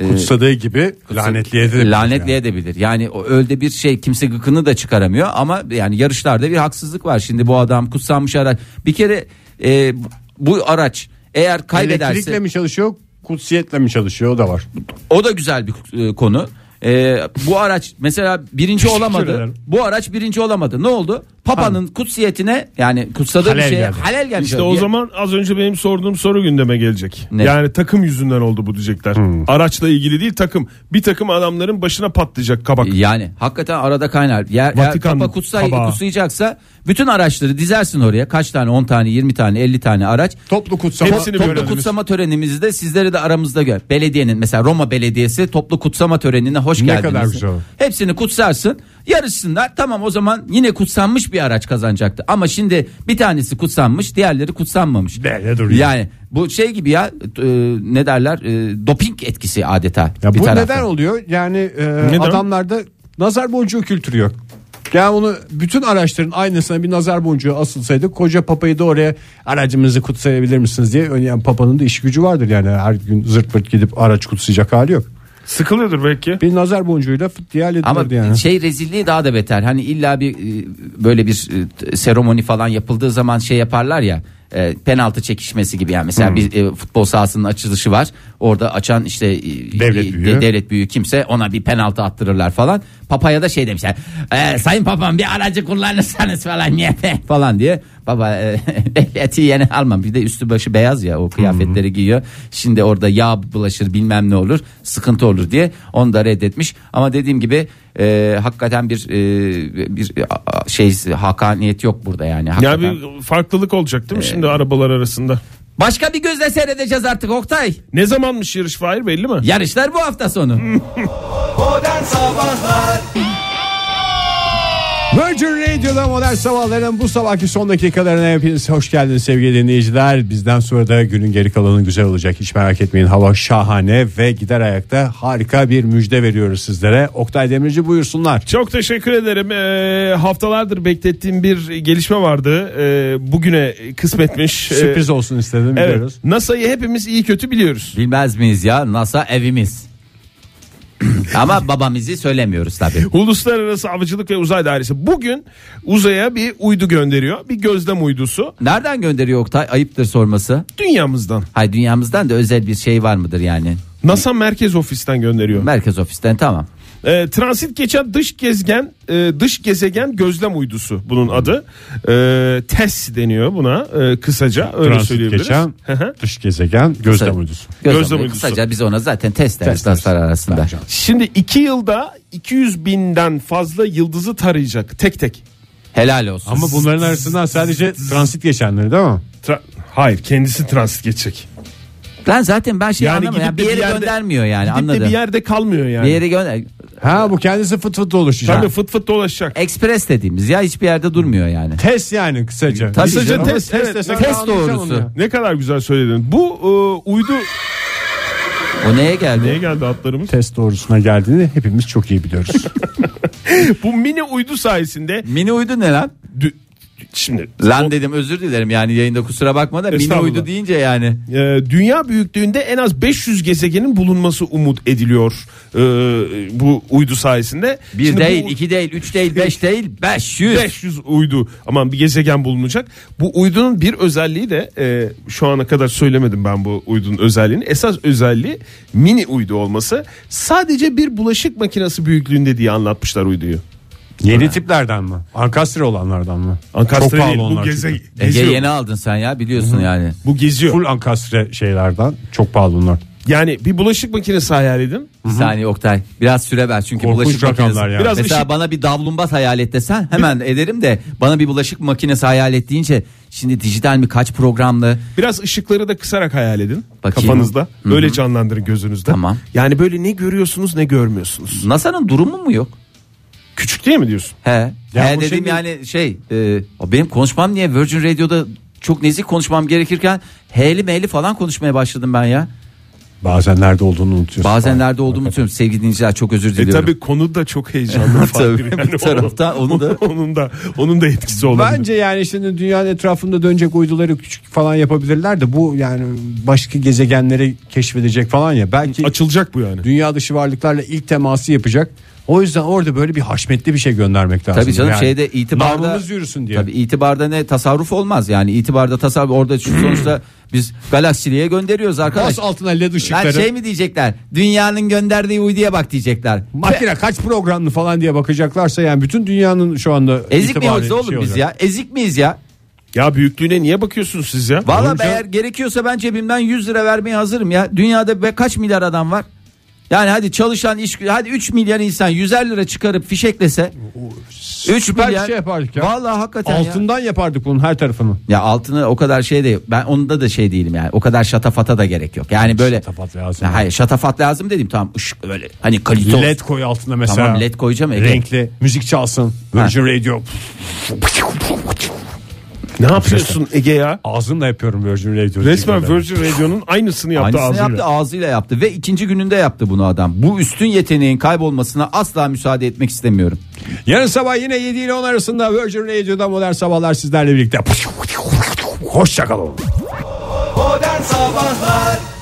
Speaker 2: e,
Speaker 3: Kutsadığı gibi lanetliye de. demiş
Speaker 2: lanetli
Speaker 3: yani.
Speaker 2: edebilir. Yani o öyle bir şey kimse gıkını da çıkaramıyor ama yani yarışlarda bir haksızlık var. Şimdi bu adam kutsanmış araç. Bir kere e, bu araç eğer kaybederse
Speaker 3: Elektrikle mi çalışıyor kutsiyetle mi çalışıyor o da var.
Speaker 2: O da güzel bir e, konu. E, bu araç mesela birinci
Speaker 4: Teşekkür
Speaker 2: olamadı.
Speaker 4: ederim.
Speaker 2: Bu araç birinci olamadı. Ne oldu? Papa'nın kutsiyetine yani kutsadığı bir
Speaker 3: Halel
Speaker 2: şeye
Speaker 3: geldi.
Speaker 2: halel gelmiş.
Speaker 4: İşte
Speaker 2: oldu.
Speaker 4: o
Speaker 2: Ya-
Speaker 4: zaman az önce benim sorduğum soru gündeme gelecek.
Speaker 2: Ne?
Speaker 4: Yani takım yüzünden oldu bu diyecekler. Araçla ilgili değil takım. Bir takım adamların başına patlayacak kabak.
Speaker 2: yani hakikaten arada kaynar. Yer, eğer
Speaker 4: Vatikan
Speaker 2: Papa kutsay,
Speaker 4: tabağı.
Speaker 2: kutsayacaksa bütün araçları dizersin oraya. Kaç tane 10 tane 20 tane 50 tane araç.
Speaker 3: Toplu kutsama.
Speaker 4: Hepsini
Speaker 3: Toplu-
Speaker 4: böyle-
Speaker 2: Toplu kutsama törenimizde sizleri de aramızda gör. Belediyenin mesela Roma Belediyesi toplu kutsama törenine hoş
Speaker 3: Ne
Speaker 2: geldiniz.
Speaker 3: kadar güzel.
Speaker 2: Hepsini kutsarsın. Yarışsınlar. Tamam o zaman yine kutsanmış bir araç kazanacaktı. Ama şimdi bir tanesi kutsanmış, diğerleri kutsanmamış.
Speaker 3: Böyle duruyor.
Speaker 2: Yani bu şey gibi ya e, ne derler? E, doping etkisi adeta.
Speaker 3: Ya
Speaker 2: bir
Speaker 3: bu
Speaker 2: taraftan.
Speaker 3: neden oluyor? Yani e,
Speaker 4: Neden?
Speaker 3: adamlarda nazar boncuğu kültürü yok. Yani onu bütün araçların aynısına bir nazar boncuğu asılsaydı koca papayı da oraya aracımızı kutsayabilir misiniz diye önleyen papanın da iş gücü vardır yani her gün zırt pırt gidip araç kutsayacak hali yok.
Speaker 4: Sıkılıyordur belki.
Speaker 3: Bir nazar boncuğuyla fıt diye halledilir
Speaker 2: Ama
Speaker 3: yani.
Speaker 2: şey rezilliği daha da beter. Hani illa bir e, böyle bir e, seremoni falan yapıldığı zaman şey yaparlar ya. e, penaltı çekişmesi gibi yani
Speaker 3: Hmm.
Speaker 2: mesela bir e, futbol sahasının açılışı var. Orada açan işte e,
Speaker 3: Devlet
Speaker 2: e,
Speaker 3: büyüğü.
Speaker 2: devlet büyüğü kimse ona bir penaltı attırırlar falan. Papaya da şey demişler. "E, sayın papam bir aracı kullanırsanız falan niye falan diye. Baba e, ehliyeti yeni almam. Bir de üstü başı beyaz ya o kıyafetleri giyiyor. Şimdi orada yağ bulaşır bilmem ne olur sıkıntı olur diye onu da reddetmiş. Ama dediğim gibi e, hakikaten bir e, bir a- a- şey hakaniyet yok burada yani.
Speaker 4: Ya
Speaker 2: Hakikaten. Ee,
Speaker 4: bir farklılık olacak değil mi şimdi arabalar arasında?
Speaker 2: Başka bir gözle seyredeceğiz artık Oktay.
Speaker 4: Ne zamanmış yarış Fahir belli mi?
Speaker 2: Yarışlar bu hafta
Speaker 4: Hmm.
Speaker 2: sonu.
Speaker 3: Virgin Radio'da modern sabahların bu sabahki son dakikalarına hepiniz hoş geldiniz sevgili dinleyiciler. Bizden sonra da günün geri kalanı güzel olacak hiç merak etmeyin. Hava şahane ve gider ayakta harika bir müjde veriyoruz sizlere. Oktay Demirci buyursunlar.
Speaker 4: Çok teşekkür ederim. Ee, haftalardır beklettiğim bir gelişme vardı. Ee, bugüne kısmetmiş. Ee,
Speaker 3: Sürpriz olsun istedim
Speaker 4: Evet.
Speaker 3: biliyoruz.
Speaker 4: NASA'yı hepimiz iyi kötü biliyoruz.
Speaker 2: Bilmez miyiz ya NASA evimiz. Ama babamızı söylemiyoruz tabii.
Speaker 4: Uluslararası Avcılık ve Uzay Dairesi bugün uzaya bir uydu gönderiyor. Bir gözlem uydusu
Speaker 2: Nereden gönderiyor Oktay? Ayıptır sorması.
Speaker 4: dünyamızdan.
Speaker 2: Hay dünyamızdan da özel bir şey var mıdır yani?
Speaker 4: NASA merkez ofisten gönderiyor.
Speaker 2: Merkez ofisten tamam.
Speaker 4: Ee, transit geçen dış gezegen, e, dış gezegen gözlem uydusu bunun adı. Ee, TESS deniyor buna e, kısaca öyle
Speaker 3: Transit
Speaker 4: söyleyebiliriz.
Speaker 3: geçen
Speaker 4: Hı hı.
Speaker 3: dış gezegen gözlem uydusu.
Speaker 2: Gözlem,
Speaker 4: Gözlem
Speaker 2: uydusu.
Speaker 4: uydusu.
Speaker 2: Kısaca biz ona zaten test deriz
Speaker 3: Test deriz.
Speaker 2: dostlar arasında.
Speaker 3: Tamam.
Speaker 4: Şimdi iki yılda 200 binden fazla yıldızı tarayacak tek tek.
Speaker 2: Helal olsun.
Speaker 3: Ama bunların arasından sadece transit geçenleri değil mi?
Speaker 4: Tra- Hayır kendisi transit geçecek.
Speaker 2: Lan zaten ben şey
Speaker 4: Yani
Speaker 2: anlamıyorum. Yani
Speaker 4: gidip de
Speaker 2: bir yere
Speaker 4: bir yerde-
Speaker 2: göndermiyor yani
Speaker 4: Gidip de
Speaker 2: anladım.
Speaker 4: bir yerde kalmıyor yani.
Speaker 2: Bir yere gönder.
Speaker 3: Ha bu kendisi fıt fıt dolaşacak.
Speaker 4: Tabii fıt fıt dolaşacak.
Speaker 2: Ekspres dediğimiz ya hiçbir yerde durmuyor yani.
Speaker 3: Test yani kısaca.
Speaker 2: Tabii
Speaker 3: Kısaca
Speaker 2: canım.
Speaker 3: test.
Speaker 4: Evet,
Speaker 3: Test, desek
Speaker 2: test
Speaker 3: daha anlayacağım
Speaker 2: doğrusu.
Speaker 3: onu ya.
Speaker 4: Ne kadar güzel söyledin. Bu e, uydu
Speaker 2: O neye geldi?
Speaker 4: neye geldi atlarımız?
Speaker 3: Test doğrusuna geldiğini hepimiz çok iyi biliyoruz.
Speaker 4: Bu mini uydu sayesinde
Speaker 2: Mini uydu ne lan?
Speaker 4: dü- şimdi
Speaker 2: Lan dedim özür dilerim yani yayında kusura bakma da mini
Speaker 4: Estağfurullah.
Speaker 2: uydu deyince yani.
Speaker 4: Ee, dünya büyüklüğünde en az 500 gezegenin bulunması umut ediliyor ee, bu uydu sayesinde.
Speaker 2: Bir
Speaker 4: Şimdi
Speaker 2: değil,
Speaker 4: bu
Speaker 2: iki değil, üç değil, beş değil, beş yüz.
Speaker 4: 500 uydu aman bir gezegen bulunacak. Bu uydunun bir özelliği de e, şu ana kadar söylemedim ben bu uydunun özelliğini. Esas özelliği mini uydu olması. Sadece bir bulaşık makinesi büyüklüğünde diye anlatmışlar uyduyu.
Speaker 3: Yeni tiplerden mi? Ankastre olanlardan mı?
Speaker 4: Ankastre
Speaker 3: çok pahalı
Speaker 4: değil, bu
Speaker 3: onlar
Speaker 4: geze-
Speaker 3: çünkü.
Speaker 2: Ege
Speaker 4: geziyor.
Speaker 2: yeni aldın sen ya biliyorsun yani.
Speaker 4: Bu geziyor.
Speaker 3: Full ankastre şeylerden çok pahalı bunlar.
Speaker 4: Yani bir bulaşık makinesi hayal edin.
Speaker 2: Bir saniye Oktay. Biraz süre ver çünkü
Speaker 3: Korkunç
Speaker 2: bulaşık
Speaker 3: rakamlar
Speaker 2: makinesi.
Speaker 3: yani.
Speaker 4: Biraz
Speaker 2: Mesela
Speaker 4: ışık-
Speaker 2: bana bir davlumbaz hayal et desen hemen ederim de bana bir bulaşık makinesi hayal et deyince şimdi dijital mi kaç programlı?
Speaker 4: Biraz ışıkları da kısarak hayal edin
Speaker 2: Bakayım.
Speaker 4: kafanızda. Böyle canlandırın gözünüzde.
Speaker 2: Tamam.
Speaker 4: Yani böyle ne görüyorsunuz ne görmüyorsunuz.
Speaker 2: NASA'nın durumu mu yok?
Speaker 4: Küçük değil mi diyorsun?
Speaker 2: He.
Speaker 3: Ya
Speaker 2: He
Speaker 3: bu
Speaker 2: dedim
Speaker 3: şimdi-
Speaker 2: yani şey e, benim konuşmam niye Virgin Radio'da çok nezih konuşmam gerekirken heyli meyli falan konuşmaya başladım ben ya.
Speaker 3: Bazen nerede olduğunu unutuyorsun.
Speaker 2: Bazen
Speaker 3: Falan.
Speaker 2: nerede olduğumu unutuyorum sevgili dinleyiciler çok özür
Speaker 4: E
Speaker 2: diliyorum.
Speaker 4: tabi konu da çok heyecanlı. Fahir.
Speaker 2: Tabii, bir tarafta onu da-
Speaker 4: onun da onun da etkisi olabilir.
Speaker 3: Bence yani şimdi dünyanın etrafında dönecek uyduları küçük falan yapabilirler de bu yani başka gezegenleri keşfedecek falan ya. Belki
Speaker 4: açılacak bu yani.
Speaker 3: dünya dışı varlıklarla ilk teması yapacak. O yüzden orada böyle bir haşmetli bir şey göndermek lazım.
Speaker 2: Tabii canım
Speaker 3: Yani
Speaker 2: şeyde itibarda
Speaker 3: Namımız yürüsün diye.
Speaker 2: Tabii itibarda ne tasarruf olmaz yani itibarda tasarruf orada şu sonuçta biz galaksiliğe gönderiyoruz arkadaş.
Speaker 3: Bas altına led
Speaker 2: Lan
Speaker 3: ışıkları.
Speaker 2: şey mi diyecekler? Dünyanın gönderdiği uyduya bak diyecekler.
Speaker 3: Makine kaç programlı falan diye bakacaklarsa yani bütün dünyanın şu anda
Speaker 2: Ezik
Speaker 3: itibariyle bir
Speaker 2: miyiz oğlum
Speaker 3: şey
Speaker 2: biz
Speaker 3: olacak.
Speaker 2: ya? Ezik miyiz ya?
Speaker 4: Ya büyüklüğüne niye bakıyorsunuz siz ya?
Speaker 2: Valla
Speaker 4: Olunca-
Speaker 2: eğer gerekiyorsa ben cebimden 100 lira vermeye hazırım ya. Dünyada be kaç milyar adam var? Yani hadi çalışan iş hadi 3 milyar insan 100'er lira çıkarıp fişeklese 3
Speaker 3: Süper bir
Speaker 2: milyar.
Speaker 3: şey yapardık ya.
Speaker 2: Vallahi hakikaten ya.
Speaker 3: Altından yapardık bunun her tarafını.
Speaker 2: Ya altını o kadar şey de ben onda da şey değilim yani. O kadar şatafata da gerek yok. Yani böyle
Speaker 3: Şatafat lazım.
Speaker 2: Ya Hayır şatafat lazım dedim tamam ışık böyle hani kalite olsun.
Speaker 3: LED koy altına mesela.
Speaker 2: Tamam, led koyacağım, Ege.
Speaker 3: Renkli müzik çalsın. Virgin Radio.
Speaker 4: ne yapıyorsun Ege ya?
Speaker 3: Ağzımla yapıyorum Virgin Radio.
Speaker 4: Resmen
Speaker 3: Böyle.
Speaker 4: Virgin Radio'nun aynısını yaptı
Speaker 2: Aynısını
Speaker 4: ağzıyla.
Speaker 2: yaptı ağzıyla yaptı ve ikinci gününde yaptı bunu adam. Bu üstün yeteneğin kaybolmasına asla müsaade etmek istemiyorum.
Speaker 3: Yarın sabah yine 7 ile 10 arasında Virgin Radio'da modern sabahlar sizlerle birlikte. Hoşçakalın.
Speaker 7: Modern Sabahlar